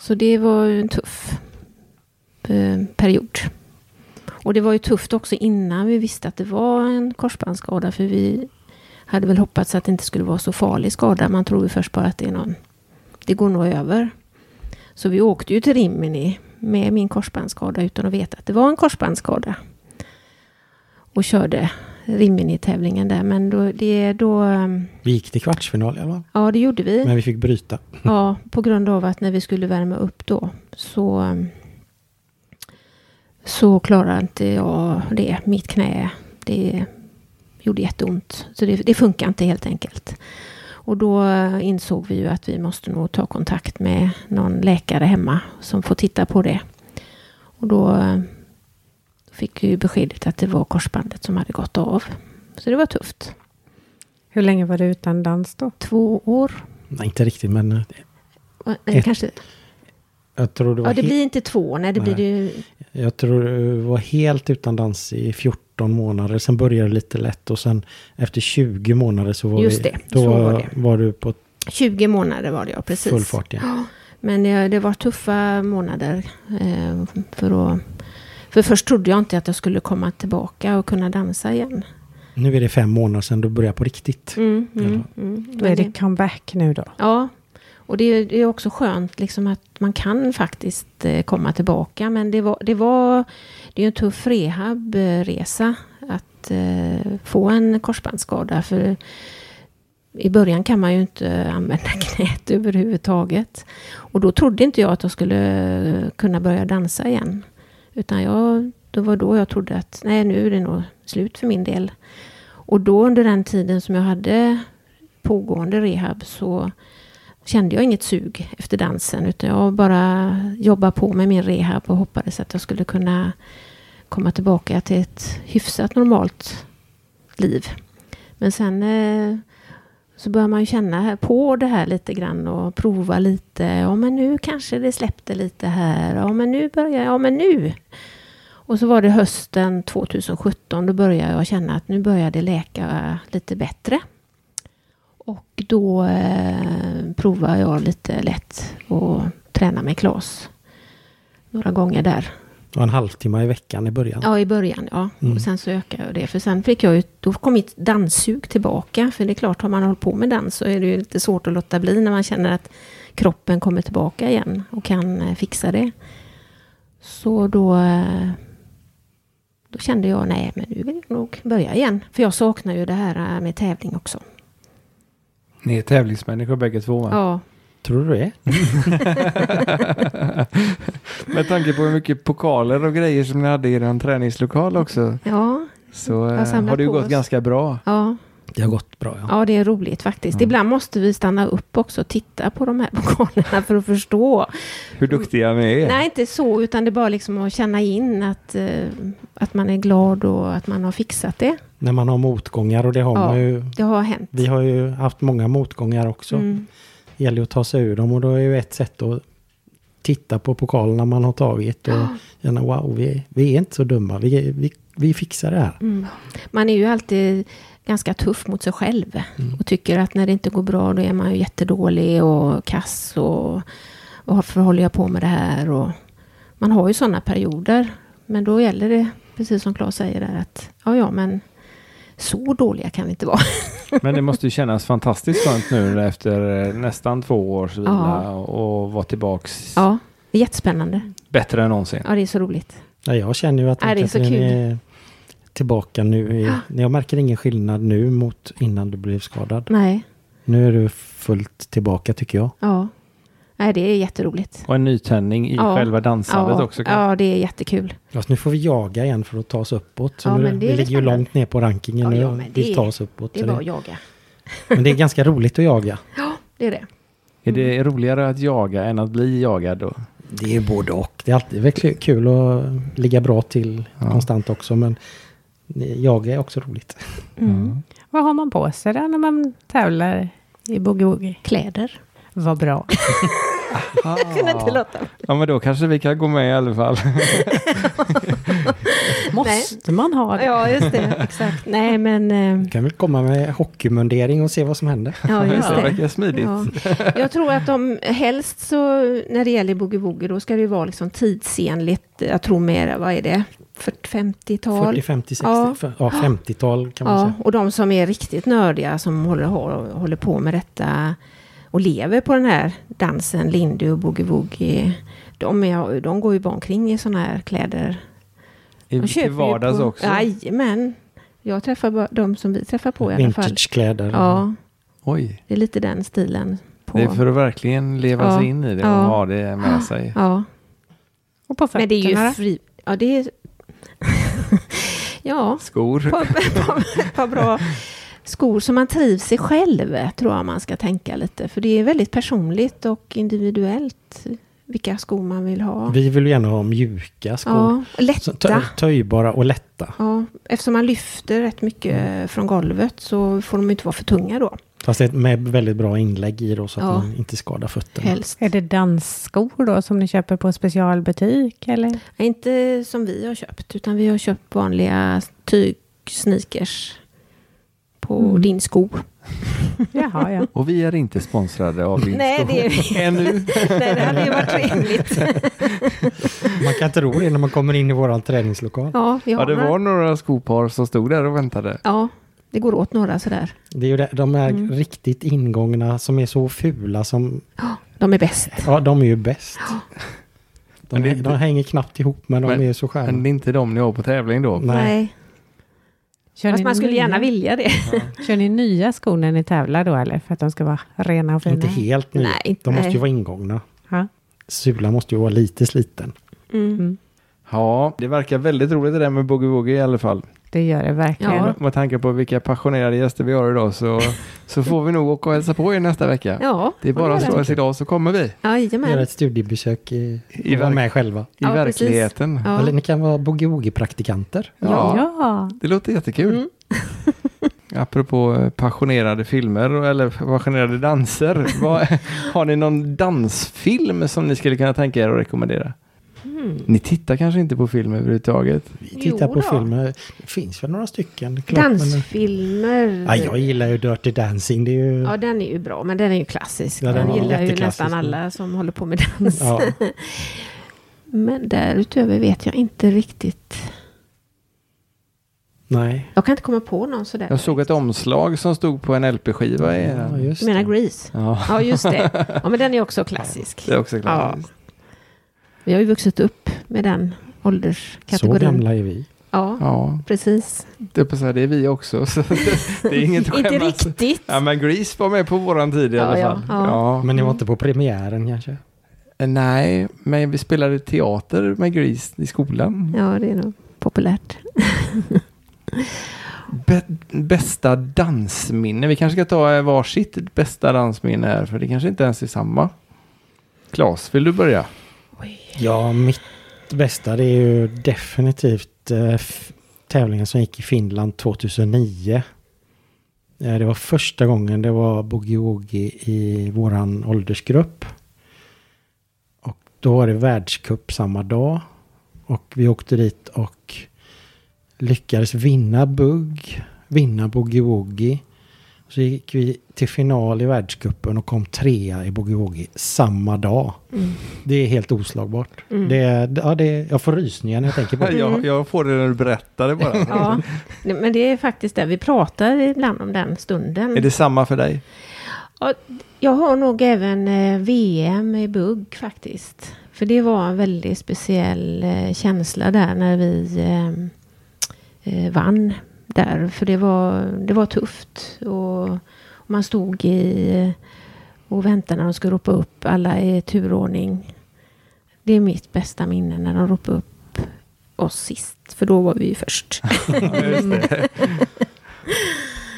[SPEAKER 3] Så det var ju en tuff eh, period. Och det var ju tufft också innan vi visste att det var en korsbandsskada för vi hade väl hoppats att det inte skulle vara så farlig skada. Man tror ju först bara att det är någon... Det går nog över. Så vi åkte ju till Rimini med min korsbandsskada utan att veta att det var en korsbandsskada. Och körde Rimini-tävlingen där. Men då, det, då, ehm,
[SPEAKER 4] Vi gick till kvartsfinal i alla fall.
[SPEAKER 3] ja, det gjorde vi.
[SPEAKER 4] Men vi fick bryta.
[SPEAKER 3] Ja, på grund av att när vi skulle värma upp då så, så klarade inte jag det. Mitt knä, det gjorde jätteont. Så det, det funkar inte helt enkelt. Och då insåg vi ju att vi måste nog ta kontakt med någon läkare hemma som får titta på det. Och då fick vi ju beskedet att det var korsbandet som hade gått av. Så det var tufft.
[SPEAKER 2] Hur länge var du utan dans då?
[SPEAKER 3] Två år. Äh,
[SPEAKER 4] Nej, inte riktigt, men eh,
[SPEAKER 3] Nej,
[SPEAKER 4] Ett-
[SPEAKER 3] kanske.
[SPEAKER 4] jag tror det var,
[SPEAKER 3] Ja, det
[SPEAKER 4] he-
[SPEAKER 3] blir inte två. Nej, det blir det ju
[SPEAKER 4] jag tror det var helt utan dans i 14 månader. Sen började det lite lätt och sen efter 20 månader så var,
[SPEAKER 3] Just
[SPEAKER 4] vi,
[SPEAKER 3] det,
[SPEAKER 4] då
[SPEAKER 3] så var det.
[SPEAKER 4] var du på
[SPEAKER 3] 20 månader var det, ja. Precis.
[SPEAKER 4] full fart igen.
[SPEAKER 3] Men eh, det, det var tuffa månader. Eh, för, att, för först trodde jag inte att jag skulle komma tillbaka och kunna dansa igen.
[SPEAKER 4] Nu är det fem månader sedan du började på riktigt.
[SPEAKER 3] Mm,
[SPEAKER 4] mm,
[SPEAKER 2] Då är det comeback nu då?
[SPEAKER 3] Ja, och det, är- det är också skönt liksom att man kan faktiskt eh, komma tillbaka. Men det var, det var det är ju en tuff rehabresa att eh, få en korsbandsskada. För i början kan man ju inte använda knät överhuvudtaget. Och då trodde inte jag att jag skulle eh, kunna börja dansa igen. Utan jag, då var då jag trodde att nej, nu är det nog slut för min del. Och då under den tiden som jag hade pågående rehab så kände jag inget sug efter dansen utan jag bara jobbade på med min rehab och hoppades att jag skulle kunna komma tillbaka till ett hyfsat normalt liv. Men sen eh, så börjar man ju känna här- på det här lite grann och prova lite. Ja men nu kanske det släppte lite här. Ja men nu börjar jag. Ja men nu. Och så var det hösten 2017. Då började jag känna att nu börjar det läka lite bättre. Och då eh, provar jag lite lätt och tränar med Klas. Några gånger där.
[SPEAKER 4] Det var en halvtimme i veckan i början.
[SPEAKER 3] Ja, i början. Ja.
[SPEAKER 4] Mm.
[SPEAKER 3] Och sen så ökade jag det. För sen fick jag ju, då kom mitt danssug tillbaka. För det är klart, har man hållit på med dans så är det ju lite svårt att låta bli när man känner att kroppen kommer tillbaka igen och kan eh, fixa det. Så då, eh, då kände jag, nej men nu vill jag nog börja igen. För jag saknar ju det här eh, med tävling också.
[SPEAKER 5] Ni är tävlingsmänniskor bägge två va?
[SPEAKER 3] Ja,
[SPEAKER 4] Tror du det?
[SPEAKER 5] Med tanke på hur mycket pokaler och grejer som ni hade i den träningslokal också
[SPEAKER 3] ja,
[SPEAKER 5] så eh,
[SPEAKER 3] Jag samlar
[SPEAKER 5] har det ju
[SPEAKER 3] på
[SPEAKER 5] gått
[SPEAKER 3] oss.
[SPEAKER 5] ganska bra.
[SPEAKER 3] ja.
[SPEAKER 4] Det har gått bra, ja.
[SPEAKER 3] Ja, det är roligt faktiskt.
[SPEAKER 5] Ja.
[SPEAKER 3] Ibland måste vi stanna upp också och titta på de här pokalerna för att förstå.
[SPEAKER 5] Hur duktiga ni är.
[SPEAKER 3] Nej, inte så, utan det är bara liksom att känna in att, eh, att man är glad och att man har fixat det.
[SPEAKER 4] När man har motgångar och det har
[SPEAKER 3] Ja.
[SPEAKER 4] man ju.
[SPEAKER 3] Det har hänt.
[SPEAKER 4] Vi har ju haft många motgångar också.
[SPEAKER 3] Mm.
[SPEAKER 4] Det gäller ju att ta sig ur dem och då är ju ett sätt att titta på pokalerna man har tagit och
[SPEAKER 3] Ah.
[SPEAKER 4] känna wow, vi, vi är inte så dumma, vi, vi, vi fixar det här.
[SPEAKER 3] Mm. Man är ju alltid ganska tuff mot sig själv
[SPEAKER 5] Mm.
[SPEAKER 3] och tycker att när det inte går bra då är man ju jättedålig och kass och och varför håller jag på med det här? Och man har ju sådana perioder. Men då gäller det, precis som Claes säger där, att ja, ja, men så dåliga kan vi inte vara.
[SPEAKER 5] Men det måste ju kännas fantastiskt skönt nu efter eh, nästan två års vila
[SPEAKER 3] Ja.
[SPEAKER 5] och vara tillbaks
[SPEAKER 3] Ja, det är jättespännande.
[SPEAKER 5] bättre än någonsin.
[SPEAKER 3] Ja, det är så roligt.
[SPEAKER 4] Ja, jag känner ju att
[SPEAKER 3] Ja, det är så
[SPEAKER 4] Ann-Katrin
[SPEAKER 3] kul. Ah.
[SPEAKER 4] är tillbaka nu. I, jag märker ingen skillnad nu mot innan du blev skadad.
[SPEAKER 3] Nej,
[SPEAKER 4] Nu är du fullt tillbaka tycker jag.
[SPEAKER 3] ja. Nej, det är jätteroligt.
[SPEAKER 5] Och en nytändning i
[SPEAKER 3] Ja.
[SPEAKER 5] själva dansandet
[SPEAKER 3] Ja,
[SPEAKER 5] också. kanske.
[SPEAKER 3] ja, det är jättekul.
[SPEAKER 4] Fast nu får vi jaga igen för att ta oss uppåt. Så
[SPEAKER 3] Ja,
[SPEAKER 4] nu,
[SPEAKER 3] men det är
[SPEAKER 4] vi ligger ju
[SPEAKER 3] spännande.
[SPEAKER 4] långt ner på rankingen
[SPEAKER 3] Ja,
[SPEAKER 4] nu
[SPEAKER 3] ja,
[SPEAKER 4] och
[SPEAKER 3] men
[SPEAKER 4] vill
[SPEAKER 3] det-
[SPEAKER 4] ta oss uppåt.
[SPEAKER 3] Det
[SPEAKER 4] Så
[SPEAKER 3] är bara
[SPEAKER 4] det,
[SPEAKER 3] att jaga.
[SPEAKER 4] men det är ganska roligt att jaga.
[SPEAKER 3] Det är det.
[SPEAKER 5] Är det roligare att jaga än att bli jagad då?
[SPEAKER 4] Det är ju både och. Det är alltid väl kul- kul att ligga bra till
[SPEAKER 5] Ja.
[SPEAKER 4] konstant också. Men jaga är också roligt.
[SPEAKER 3] Mm.
[SPEAKER 2] Vad har man på sig där när man tävlar i boogie-woogie?
[SPEAKER 3] Kläder.
[SPEAKER 2] Vad bra.
[SPEAKER 3] Kunde inte låta.
[SPEAKER 5] Ja men då kanske vi kan gå med i alla fall.
[SPEAKER 2] Måste man ha det?
[SPEAKER 3] Ja, just det. Exakt. Nej, men... eh,
[SPEAKER 4] Du kan väl komma med hockeymundering och se vad som händer.
[SPEAKER 3] Ja, just
[SPEAKER 5] det
[SPEAKER 3] det.
[SPEAKER 5] verkar smidigt.
[SPEAKER 3] Ja. Jag tror att de helst så, när det gäller boogie-woogie, då ska det ju vara liksom tidsenligt. Jag tror mer, vad är det? 40-50-tal?
[SPEAKER 4] 40, 50, 60,
[SPEAKER 3] Ja.
[SPEAKER 4] ja, ja 50-tal kan man
[SPEAKER 3] Ja,
[SPEAKER 4] säga.
[SPEAKER 3] och de som är riktigt nördiga som håller, hå- håller på med detta och lever på den här dansen, lindy och boogie-woogie. De, är, de går ju bara omkring i sådana här kläder.
[SPEAKER 1] I,
[SPEAKER 3] De
[SPEAKER 1] i
[SPEAKER 3] ju
[SPEAKER 1] vardags
[SPEAKER 3] på,
[SPEAKER 1] också.
[SPEAKER 3] Jajamän. Jag träffar bara de som vi träffar på i alla fall.
[SPEAKER 4] Vintagekläder.
[SPEAKER 3] Ja,
[SPEAKER 5] Oj,
[SPEAKER 3] det är lite den stilen. På.
[SPEAKER 5] det är för att verkligen leva
[SPEAKER 3] Ja.
[SPEAKER 5] sig in i det och
[SPEAKER 3] Ja.
[SPEAKER 5] ha det med sig.
[SPEAKER 3] ja.
[SPEAKER 2] Och på
[SPEAKER 3] Men det är
[SPEAKER 2] fötterna
[SPEAKER 3] ju
[SPEAKER 2] då?
[SPEAKER 3] fri... Ja, det är... ja,
[SPEAKER 5] Skor.
[SPEAKER 3] på, på, på bra skor som man trivs i själv, tror jag man ska tänka lite. För det är väldigt personligt och individuellt vilka skor man vill ha.
[SPEAKER 4] Vi vill ju gärna ha mjuka skor.
[SPEAKER 3] Ja,
[SPEAKER 4] Så tö-
[SPEAKER 3] lätta.
[SPEAKER 4] Töjbara och lätta.
[SPEAKER 3] Ja, eftersom man lyfter rätt mycket från golvet så får de inte vara för tunga då.
[SPEAKER 4] Fast det är med väldigt bra inlägg i då så att
[SPEAKER 3] Ja.
[SPEAKER 4] man inte skadar fötterna.
[SPEAKER 3] Helst.
[SPEAKER 2] Är det dansskor då som ni köper på specialbutik eller?
[SPEAKER 3] Nej, Inte som vi har köpt, utan vi har köpt vanliga tygsneakers på
[SPEAKER 2] Mm.
[SPEAKER 3] din sko.
[SPEAKER 2] Jaha, ja.
[SPEAKER 5] Och vi är inte sponsrade av din
[SPEAKER 3] Nej, det är vi
[SPEAKER 5] Ännu.
[SPEAKER 3] Nej, det hade ju varit trevligt.
[SPEAKER 4] Man kan tro det när man kommer in i våran träningslokal.
[SPEAKER 3] Ja, vi har
[SPEAKER 5] Ja, det
[SPEAKER 3] några-
[SPEAKER 5] var några skopar som stod där och väntade.
[SPEAKER 3] ja, det går åt några sådär.
[SPEAKER 4] Det är ju det, de här
[SPEAKER 3] Mm.
[SPEAKER 4] riktigt ingångna som är så fula som...
[SPEAKER 3] De är bäst.
[SPEAKER 4] Ja, de är ju bäst. De,
[SPEAKER 5] Men det-
[SPEAKER 4] de hänger knappt ihop men de
[SPEAKER 5] Men-
[SPEAKER 4] är så
[SPEAKER 5] Men
[SPEAKER 4] skärmade.
[SPEAKER 5] det är inte de ni har på tävling då?
[SPEAKER 4] Nej.
[SPEAKER 3] Nej.
[SPEAKER 2] Kör
[SPEAKER 3] Fast man skulle
[SPEAKER 2] nya,
[SPEAKER 3] gärna vilja det.
[SPEAKER 2] Kör ni nya skor när ni tävlar då eller? För att de ska vara rena och fina?
[SPEAKER 4] Inte helt nu.
[SPEAKER 3] Nej,
[SPEAKER 4] De måste
[SPEAKER 3] nej.
[SPEAKER 4] ju vara ingångna.
[SPEAKER 2] Ja.
[SPEAKER 4] Sulan måste ju vara lite sliten.
[SPEAKER 3] Mm.
[SPEAKER 2] Mm.
[SPEAKER 5] Ja,
[SPEAKER 1] Det verkar väldigt roligt det där med Boogie Woogie i alla fall. Mm.
[SPEAKER 2] Det gör det verkligen.
[SPEAKER 3] Ja.
[SPEAKER 1] Med tanke på vilka passionerade gäster vi har idag så, så får vi nog åka och hälsa på er nästa vecka.
[SPEAKER 3] Ja,
[SPEAKER 1] Det är bara att
[SPEAKER 3] det är
[SPEAKER 1] slå oss idag så kommer vi.
[SPEAKER 4] Göra
[SPEAKER 3] jajamän.
[SPEAKER 4] ett studiebesök i,
[SPEAKER 1] I
[SPEAKER 4] och vara
[SPEAKER 1] verk-
[SPEAKER 4] med själva.
[SPEAKER 1] I
[SPEAKER 3] Ja, precis.
[SPEAKER 1] verkligheten.
[SPEAKER 4] Eller
[SPEAKER 3] Ja.
[SPEAKER 4] ni kan vara boogie-woogie-praktikanter.
[SPEAKER 1] Ja.
[SPEAKER 2] ja.
[SPEAKER 1] Det låter jättekul.
[SPEAKER 3] Mm.
[SPEAKER 1] Apropå eh, passionerade filmer och- eller passionerade danser. Vad, har ni någon dansfilm som ni skulle kunna tänka er att rekommendera?
[SPEAKER 3] Mm.
[SPEAKER 1] Ni tittar kanske inte på film överhuvudtaget?
[SPEAKER 4] Vi tittar
[SPEAKER 3] Jo
[SPEAKER 4] på
[SPEAKER 3] då.
[SPEAKER 4] filmer. Det finns väl några stycken. det är klart, men-
[SPEAKER 3] Dansfilmer.
[SPEAKER 4] Ja, jag gillar ju Dirty Dancing. Det är ju...
[SPEAKER 3] Ja, den är ju bra, men den är ju klassisk.
[SPEAKER 4] Ja, den
[SPEAKER 3] den
[SPEAKER 4] var
[SPEAKER 3] gillar ju
[SPEAKER 4] jätteklassisk.
[SPEAKER 3] nästan alla som håller på med dans.
[SPEAKER 4] Ja.
[SPEAKER 3] Men därutöver vet jag inte riktigt.
[SPEAKER 4] Nej.
[SPEAKER 3] Jag kan inte komma på någon sådär.
[SPEAKER 1] Jag såg ett omslag som stod på en LP-skiva. i
[SPEAKER 4] Ja,
[SPEAKER 1] den.
[SPEAKER 4] just
[SPEAKER 3] Du menar
[SPEAKER 4] det.
[SPEAKER 3] Grease?
[SPEAKER 1] Ja,
[SPEAKER 3] Ja, just det. Ja, men den är också klassisk.
[SPEAKER 1] det är också klart.
[SPEAKER 3] Vi har ju vuxit upp med den
[SPEAKER 4] Så
[SPEAKER 3] ålderskategorin.
[SPEAKER 4] gamla är vi.
[SPEAKER 3] Ja,
[SPEAKER 1] Ja,
[SPEAKER 3] precis.
[SPEAKER 1] det, är på så här, det är vi också. Så det är inget att
[SPEAKER 3] Inte
[SPEAKER 1] skämmas.
[SPEAKER 3] riktigt.
[SPEAKER 1] Ja, men Grease var med på våran tid i
[SPEAKER 3] Ja,
[SPEAKER 1] alla
[SPEAKER 3] ja.
[SPEAKER 1] fall.
[SPEAKER 3] Ja.
[SPEAKER 4] Men ni var inte på premiären kanske?
[SPEAKER 1] Nej, men vi spelade teater med Grease i skolan.
[SPEAKER 3] Ja, det är nog populärt.
[SPEAKER 1] Bä- bästa dansminne. Vi kanske ska ta eh, varsitt bästa dansminne här, för det kanske inte ens är samma. Klas, vill du börja?
[SPEAKER 4] Ja, mitt bästa det är ju definitivt eh, f- tävlingen som gick i Finland 2009. Eh, det var första gången det var boogie-woogie i våran åldersgrupp. Och då var det världscup samma dag. Och vi åkte dit och lyckades vinna bugg, vinna boogie-woogie. Så gick vi till final i världscupen och kom trea i boogie-woogie samma dag. Det är helt oslagbart. Det, ja, det, jag får rysningar när jag tänker på det.
[SPEAKER 1] Jag,
[SPEAKER 3] Mm.
[SPEAKER 1] jag får det när du berättar det bara.
[SPEAKER 3] Ja, nej, men det är faktiskt det. Vi pratar ibland om den stunden.
[SPEAKER 1] Är det samma för dig?
[SPEAKER 3] Ja, Jag har nog även eh, VM i bugg faktiskt. För det var en väldigt speciell eh, känsla där när vi eh, eh, vann där. För det var, det var tufft. Och, och man stod i eh, och väntade när de skulle ropa upp alla i turordning. Det är mitt bästa minne när de ropade upp oss sist. För då var vi ju först.
[SPEAKER 4] Ja,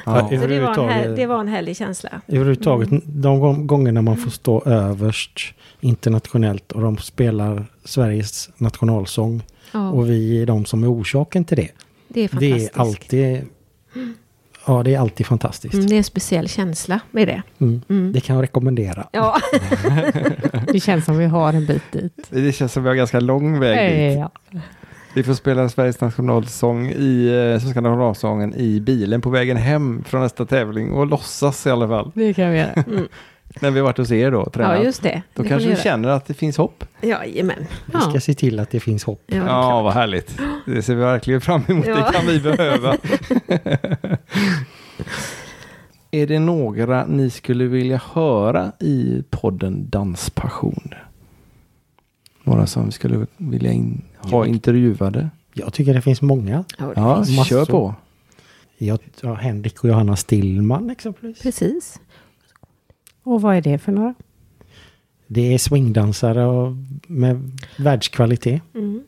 [SPEAKER 3] Så Alltså, det, var en här,
[SPEAKER 4] överhuvudtaget-
[SPEAKER 3] det var en härlig känsla.
[SPEAKER 4] Överhuvudtaget,
[SPEAKER 3] Mm.
[SPEAKER 4] de gång- gångerna man får stå överst internationellt och de spelar Sveriges nationalsång
[SPEAKER 3] Ja,
[SPEAKER 4] och vi är de som är orsaken till det.
[SPEAKER 3] det är
[SPEAKER 4] Det är
[SPEAKER 3] fantastiskt.
[SPEAKER 4] alltid, ja det är alltid
[SPEAKER 3] Mm,
[SPEAKER 4] fantastiskt.
[SPEAKER 3] det är en speciell känsla med det.
[SPEAKER 4] Mm.
[SPEAKER 3] Mm.
[SPEAKER 4] Det kan jag rekommendera.
[SPEAKER 3] Ja,
[SPEAKER 2] Det känns som vi har en bit dit.
[SPEAKER 1] Det känns som vi har ganska lång väg dit.
[SPEAKER 2] Ja.
[SPEAKER 1] Vi får spela Sveriges nationalsång i, eh, Svenska nationalsången i bilen på vägen hem från nästa tävling och låtsas i alla fall.
[SPEAKER 2] Det kan vi göra.
[SPEAKER 1] När vi har varit hos er då och tränat.
[SPEAKER 3] ja just det.
[SPEAKER 1] Då
[SPEAKER 3] det
[SPEAKER 1] kanske vi
[SPEAKER 3] får
[SPEAKER 1] känner att det finns hopp.
[SPEAKER 3] ni göra. Jajamän.
[SPEAKER 4] Vi ska
[SPEAKER 2] Ja.
[SPEAKER 4] se till att det finns hopp.
[SPEAKER 3] Ja, det
[SPEAKER 1] Ja,
[SPEAKER 3] är klart.
[SPEAKER 1] vad härligt. Det ser vi verkligen fram emot.
[SPEAKER 3] Ja.
[SPEAKER 1] Det kan vi behöva. Är det några ni skulle vilja höra i podden Danspassion? Några som vi skulle vilja in, ha intervjuade?
[SPEAKER 4] Jag tycker det finns många.
[SPEAKER 3] Ja, det
[SPEAKER 1] Ja,
[SPEAKER 4] finns
[SPEAKER 1] kör
[SPEAKER 4] massor.
[SPEAKER 1] på.
[SPEAKER 4] Jag, ja, Henrik och Johanna Stillman exempelvis.
[SPEAKER 3] Precis.
[SPEAKER 2] Och vad är det för några?
[SPEAKER 4] Det är swingdansare och med världskvalitet.
[SPEAKER 3] Mm.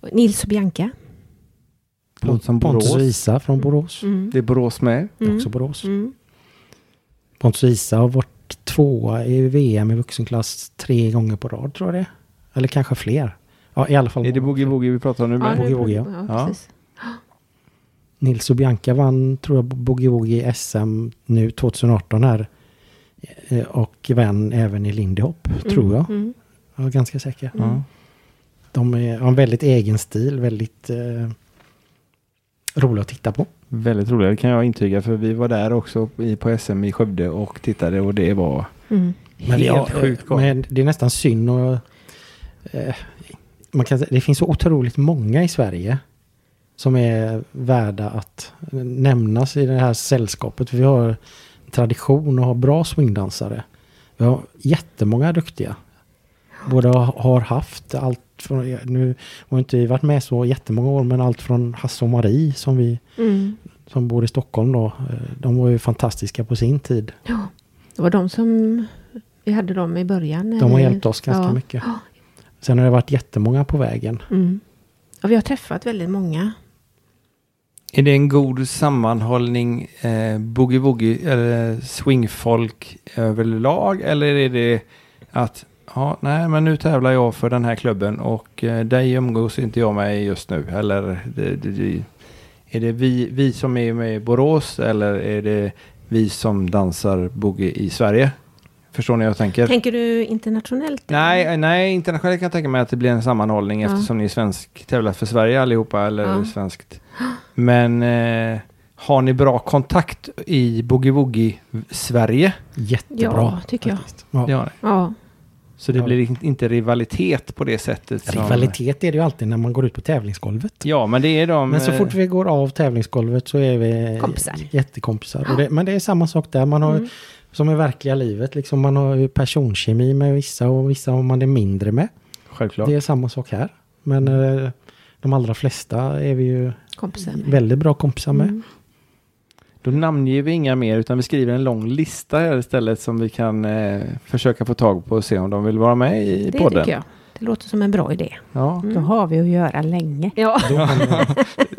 [SPEAKER 3] Och Nils och Bianca.
[SPEAKER 1] Låter som
[SPEAKER 4] Pontus och
[SPEAKER 1] Borås.
[SPEAKER 4] Isa från Borås.
[SPEAKER 3] Mm.
[SPEAKER 1] Det är Borås med.
[SPEAKER 4] Det är
[SPEAKER 3] Mm.
[SPEAKER 4] Också Borås.
[SPEAKER 3] Mm.
[SPEAKER 4] Pontus och Isa har varit tvåa i VM i vuxenklass tre gånger på rad tror jag det är. Eller kanske fler. Ja, i alla fall.
[SPEAKER 1] Är det Boogie Woogie vi pratar om nu?
[SPEAKER 3] Ja,
[SPEAKER 1] Med?
[SPEAKER 3] nu-
[SPEAKER 4] Boogie Woogie,
[SPEAKER 3] ja,
[SPEAKER 1] Ja.
[SPEAKER 3] precis.
[SPEAKER 4] Nils och Bianca vann, tror jag, Boogie Woogie SM nu 2018 här. Eh, Och vann även i Lindy Hop, tror jag.
[SPEAKER 3] Mm.
[SPEAKER 4] Jag är ganska säker.
[SPEAKER 1] Ja.
[SPEAKER 4] De är, har en väldigt egen stil, väldigt eh, rolig att titta på.
[SPEAKER 1] Väldigt roligt, det kan jag intyga för vi var där också i- på SM i Skövde och tittade och det var
[SPEAKER 3] Mm.
[SPEAKER 1] helt sjukt gott.
[SPEAKER 4] men det är nästan synd och, eh, man kan, säga- Det finns så otroligt många i Sverige som är värda att nämnas i det här sällskapet. Vi har tradition och har bra swingdansare. Vi har jättemånga duktiga. Både har har haft allt från, nu har inte vi varit med så jättemånga år, men allt från Hasse och Marie som vi
[SPEAKER 3] Mm.
[SPEAKER 4] som bor i Stockholm då. eh, De var ju fantastiska på sin tid.
[SPEAKER 3] Ja. Det var de som vi hade dem i början.
[SPEAKER 4] De har
[SPEAKER 3] eller-
[SPEAKER 4] hjälpt oss ganska
[SPEAKER 3] Mm. ja.
[SPEAKER 4] mycket.
[SPEAKER 3] Ja.
[SPEAKER 4] Sen har det varit jättemånga på vägen.
[SPEAKER 3] Mm. Och vi har träffat väldigt många.
[SPEAKER 1] Är det en god sammanhållning eh, boogie-woogie eller swingfolk överlag eller är det att ja, nej men nu tävlar jag för den här klubben och eh, dig umgås inte jag med just nu eller det, det, det, är det vi, vi som är med i Borås eller är det vi som dansar boogie i Sverige? Förstår ni vad jag tänker?
[SPEAKER 3] Tänker du internationellt?
[SPEAKER 1] Nej, eh, nej, internationellt kan jag tänka mig att det blir en sammanhållning
[SPEAKER 3] Ja.
[SPEAKER 1] eftersom ni är svensk tävlat för Sverige allihopa eller
[SPEAKER 3] Ja.
[SPEAKER 1] svenskt. Men eh, har ni bra kontakt i Boogie Woogie Sverige?
[SPEAKER 4] Jättebra.
[SPEAKER 3] Ja, tycker jag.
[SPEAKER 4] faktiskt. Ja.
[SPEAKER 1] Det har ni.
[SPEAKER 3] Ja.
[SPEAKER 1] Så det
[SPEAKER 4] Ja.
[SPEAKER 1] blir in- inte rivalitet på det sättet. som-
[SPEAKER 4] Rivalitet är det ju alltid när man går ut på tävlingsgolvet.
[SPEAKER 1] Ja, men det är de... eh,
[SPEAKER 4] Men eh, så fort vi går av tävlingsgolvet så är vi
[SPEAKER 3] Kompisar.
[SPEAKER 4] jättekompisar. Och det, men det är samma sak där. Man har,
[SPEAKER 3] Mm.
[SPEAKER 4] Som i verkliga livet, liksom, man har ju personkemi med vissa och vissa har man det mindre med.
[SPEAKER 1] eh, Självklart.
[SPEAKER 4] Det är samma sak här. Men eh, de allra flesta är vi ju
[SPEAKER 3] Kompisar.
[SPEAKER 4] väldigt bra kompisar med.
[SPEAKER 3] Mm.
[SPEAKER 1] Då namnger vi inga mer utan vi skriver en lång lista här istället som vi kan eh, försöka få tag på och se om de vill vara med i
[SPEAKER 3] Det
[SPEAKER 1] podden.
[SPEAKER 3] tycker jag. Det låter som en bra idé.
[SPEAKER 1] Ja,
[SPEAKER 2] Då har vi att göra länge.
[SPEAKER 3] Ja.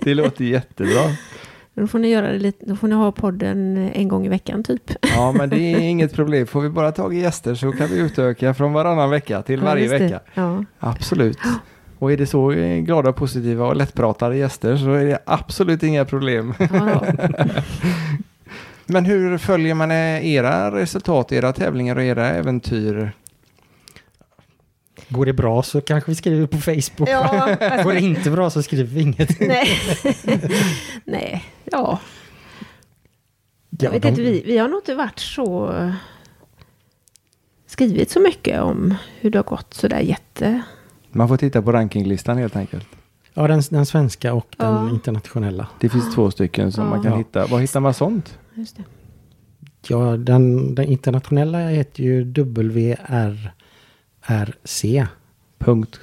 [SPEAKER 1] det låter jättebra.
[SPEAKER 3] Då får ni göra det lite, då får ni ha podden eh, en gång i veckan typ.
[SPEAKER 1] Ja, men det är inget problem. Får vi bara tag i gäster så kan vi utöka från varannan vecka till varje
[SPEAKER 3] Ja, just det.
[SPEAKER 1] vecka.
[SPEAKER 3] Ja.
[SPEAKER 1] Absolut. Och är det så eh, glada, positiva och lättpratade gäster så är det absolut inga problem.
[SPEAKER 3] Ja, ja.
[SPEAKER 1] Men hur följer man eh, era resultat, era tävlingar och era äventyr?
[SPEAKER 4] Går det bra så kanske vi skriver på Facebook. Går det inte bra så skriver vi inget.
[SPEAKER 3] alltså, Nej. Nej. Ja.
[SPEAKER 4] Ja,
[SPEAKER 3] Jag vet
[SPEAKER 4] de-
[SPEAKER 3] inte, vi, vi har nog inte varit så skrivit så mycket om hur det har gått sådär jätte...
[SPEAKER 1] Man får titta på rankinglistan helt enkelt.
[SPEAKER 4] Ja, den, den svenska och den
[SPEAKER 3] Ja.
[SPEAKER 4] internationella.
[SPEAKER 1] Det finns två stycken som
[SPEAKER 3] Ja.
[SPEAKER 1] man kan
[SPEAKER 4] Ja.
[SPEAKER 1] hitta. Var hittar man sånt?
[SPEAKER 3] Just det.
[SPEAKER 4] Ja, den, den internationella heter ju WRRC.
[SPEAKER 1] Punkt.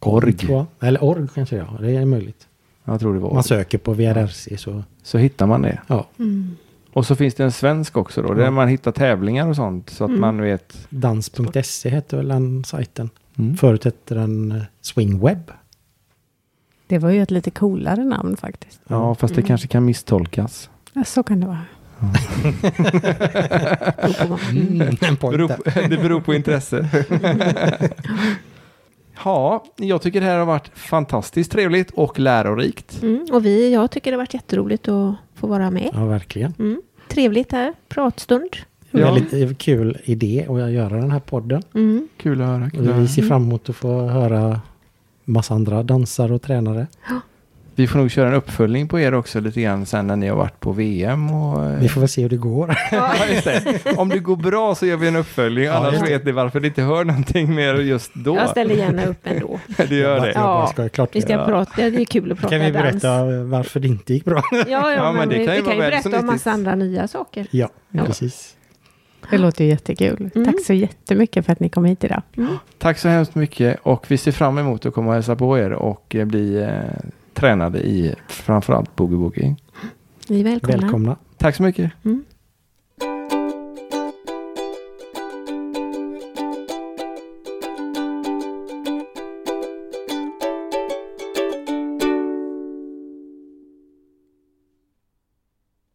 [SPEAKER 1] Org.
[SPEAKER 4] Två. Eller org kanske ja, det är möjligt.
[SPEAKER 1] Jag tror det var.
[SPEAKER 4] Man
[SPEAKER 1] org.
[SPEAKER 4] söker på VRRC så
[SPEAKER 1] Så hittar man det.
[SPEAKER 4] ja,
[SPEAKER 3] Mm.
[SPEAKER 1] Och så finns det en svensk också då, där
[SPEAKER 4] Ja. Mm.
[SPEAKER 1] man hittar tävlingar och sånt så att man vet
[SPEAKER 4] dans.se E heter väl den sajten.
[SPEAKER 1] Mm.
[SPEAKER 4] Förut hette den eh, Swingweb.
[SPEAKER 2] Det var ju ett lite coolare namn faktiskt.
[SPEAKER 1] Ja, fast det kanske kan misstolkas.
[SPEAKER 2] Ja, så kan det vara. Då får man-
[SPEAKER 4] Mm, en point
[SPEAKER 1] Beror
[SPEAKER 4] där.
[SPEAKER 1] på- det beror på intresse. ja, jag tycker det här har varit fantastiskt trevligt och lärorikt.
[SPEAKER 3] Mm. Och vi, jag tycker det har varit jätteroligt att få vara med.
[SPEAKER 4] Ja, verkligen.
[SPEAKER 3] Mm. Trevligt här, pratstund.
[SPEAKER 1] Ja.
[SPEAKER 4] Väldigt eh, kul idé att göra den här podden.
[SPEAKER 3] Mm.
[SPEAKER 1] Kul att höra.
[SPEAKER 4] Och vi ser fram emot att få höra massa andra dansare och tränare.
[SPEAKER 1] Vi får nog köra en uppföljning på er också lite grann sen när ni har varit på VM. Och, eh,
[SPEAKER 4] Vi får väl se hur det går.
[SPEAKER 1] ja, just det. Om det går bra så gör vi en uppföljning, annars
[SPEAKER 4] just det.
[SPEAKER 1] vet ni varför ni inte hör någonting mer just då.
[SPEAKER 3] Jag ställer gärna upp ändå.
[SPEAKER 1] Det gör det.
[SPEAKER 4] Jag bara
[SPEAKER 3] Ja.
[SPEAKER 4] skojar, klart
[SPEAKER 3] Vi ska
[SPEAKER 1] Ja.
[SPEAKER 3] prata, det är kul att prata
[SPEAKER 4] Kan vi berätta
[SPEAKER 3] dans.
[SPEAKER 4] varför det inte gick bra?
[SPEAKER 3] Ja, ja,
[SPEAKER 1] Ja,
[SPEAKER 3] men det kan vi
[SPEAKER 1] vara
[SPEAKER 3] kan ju
[SPEAKER 1] väl så
[SPEAKER 3] berätta om
[SPEAKER 1] nyttigt.
[SPEAKER 3] massa andra nya saker.
[SPEAKER 4] Ja,
[SPEAKER 1] Ja.
[SPEAKER 4] precis.
[SPEAKER 2] Det låter ju jättekul.
[SPEAKER 3] Mm.
[SPEAKER 2] Tack så jättemycket för att ni kom hit idag.
[SPEAKER 1] Tack så hemskt mycket och vi ser fram emot att komma och hälsa på er och eh, bli eh, tränade i framförallt boogie-woogie.
[SPEAKER 3] Ni är välkomna.
[SPEAKER 4] Välkomna.
[SPEAKER 1] Tack så mycket.
[SPEAKER 3] Mm.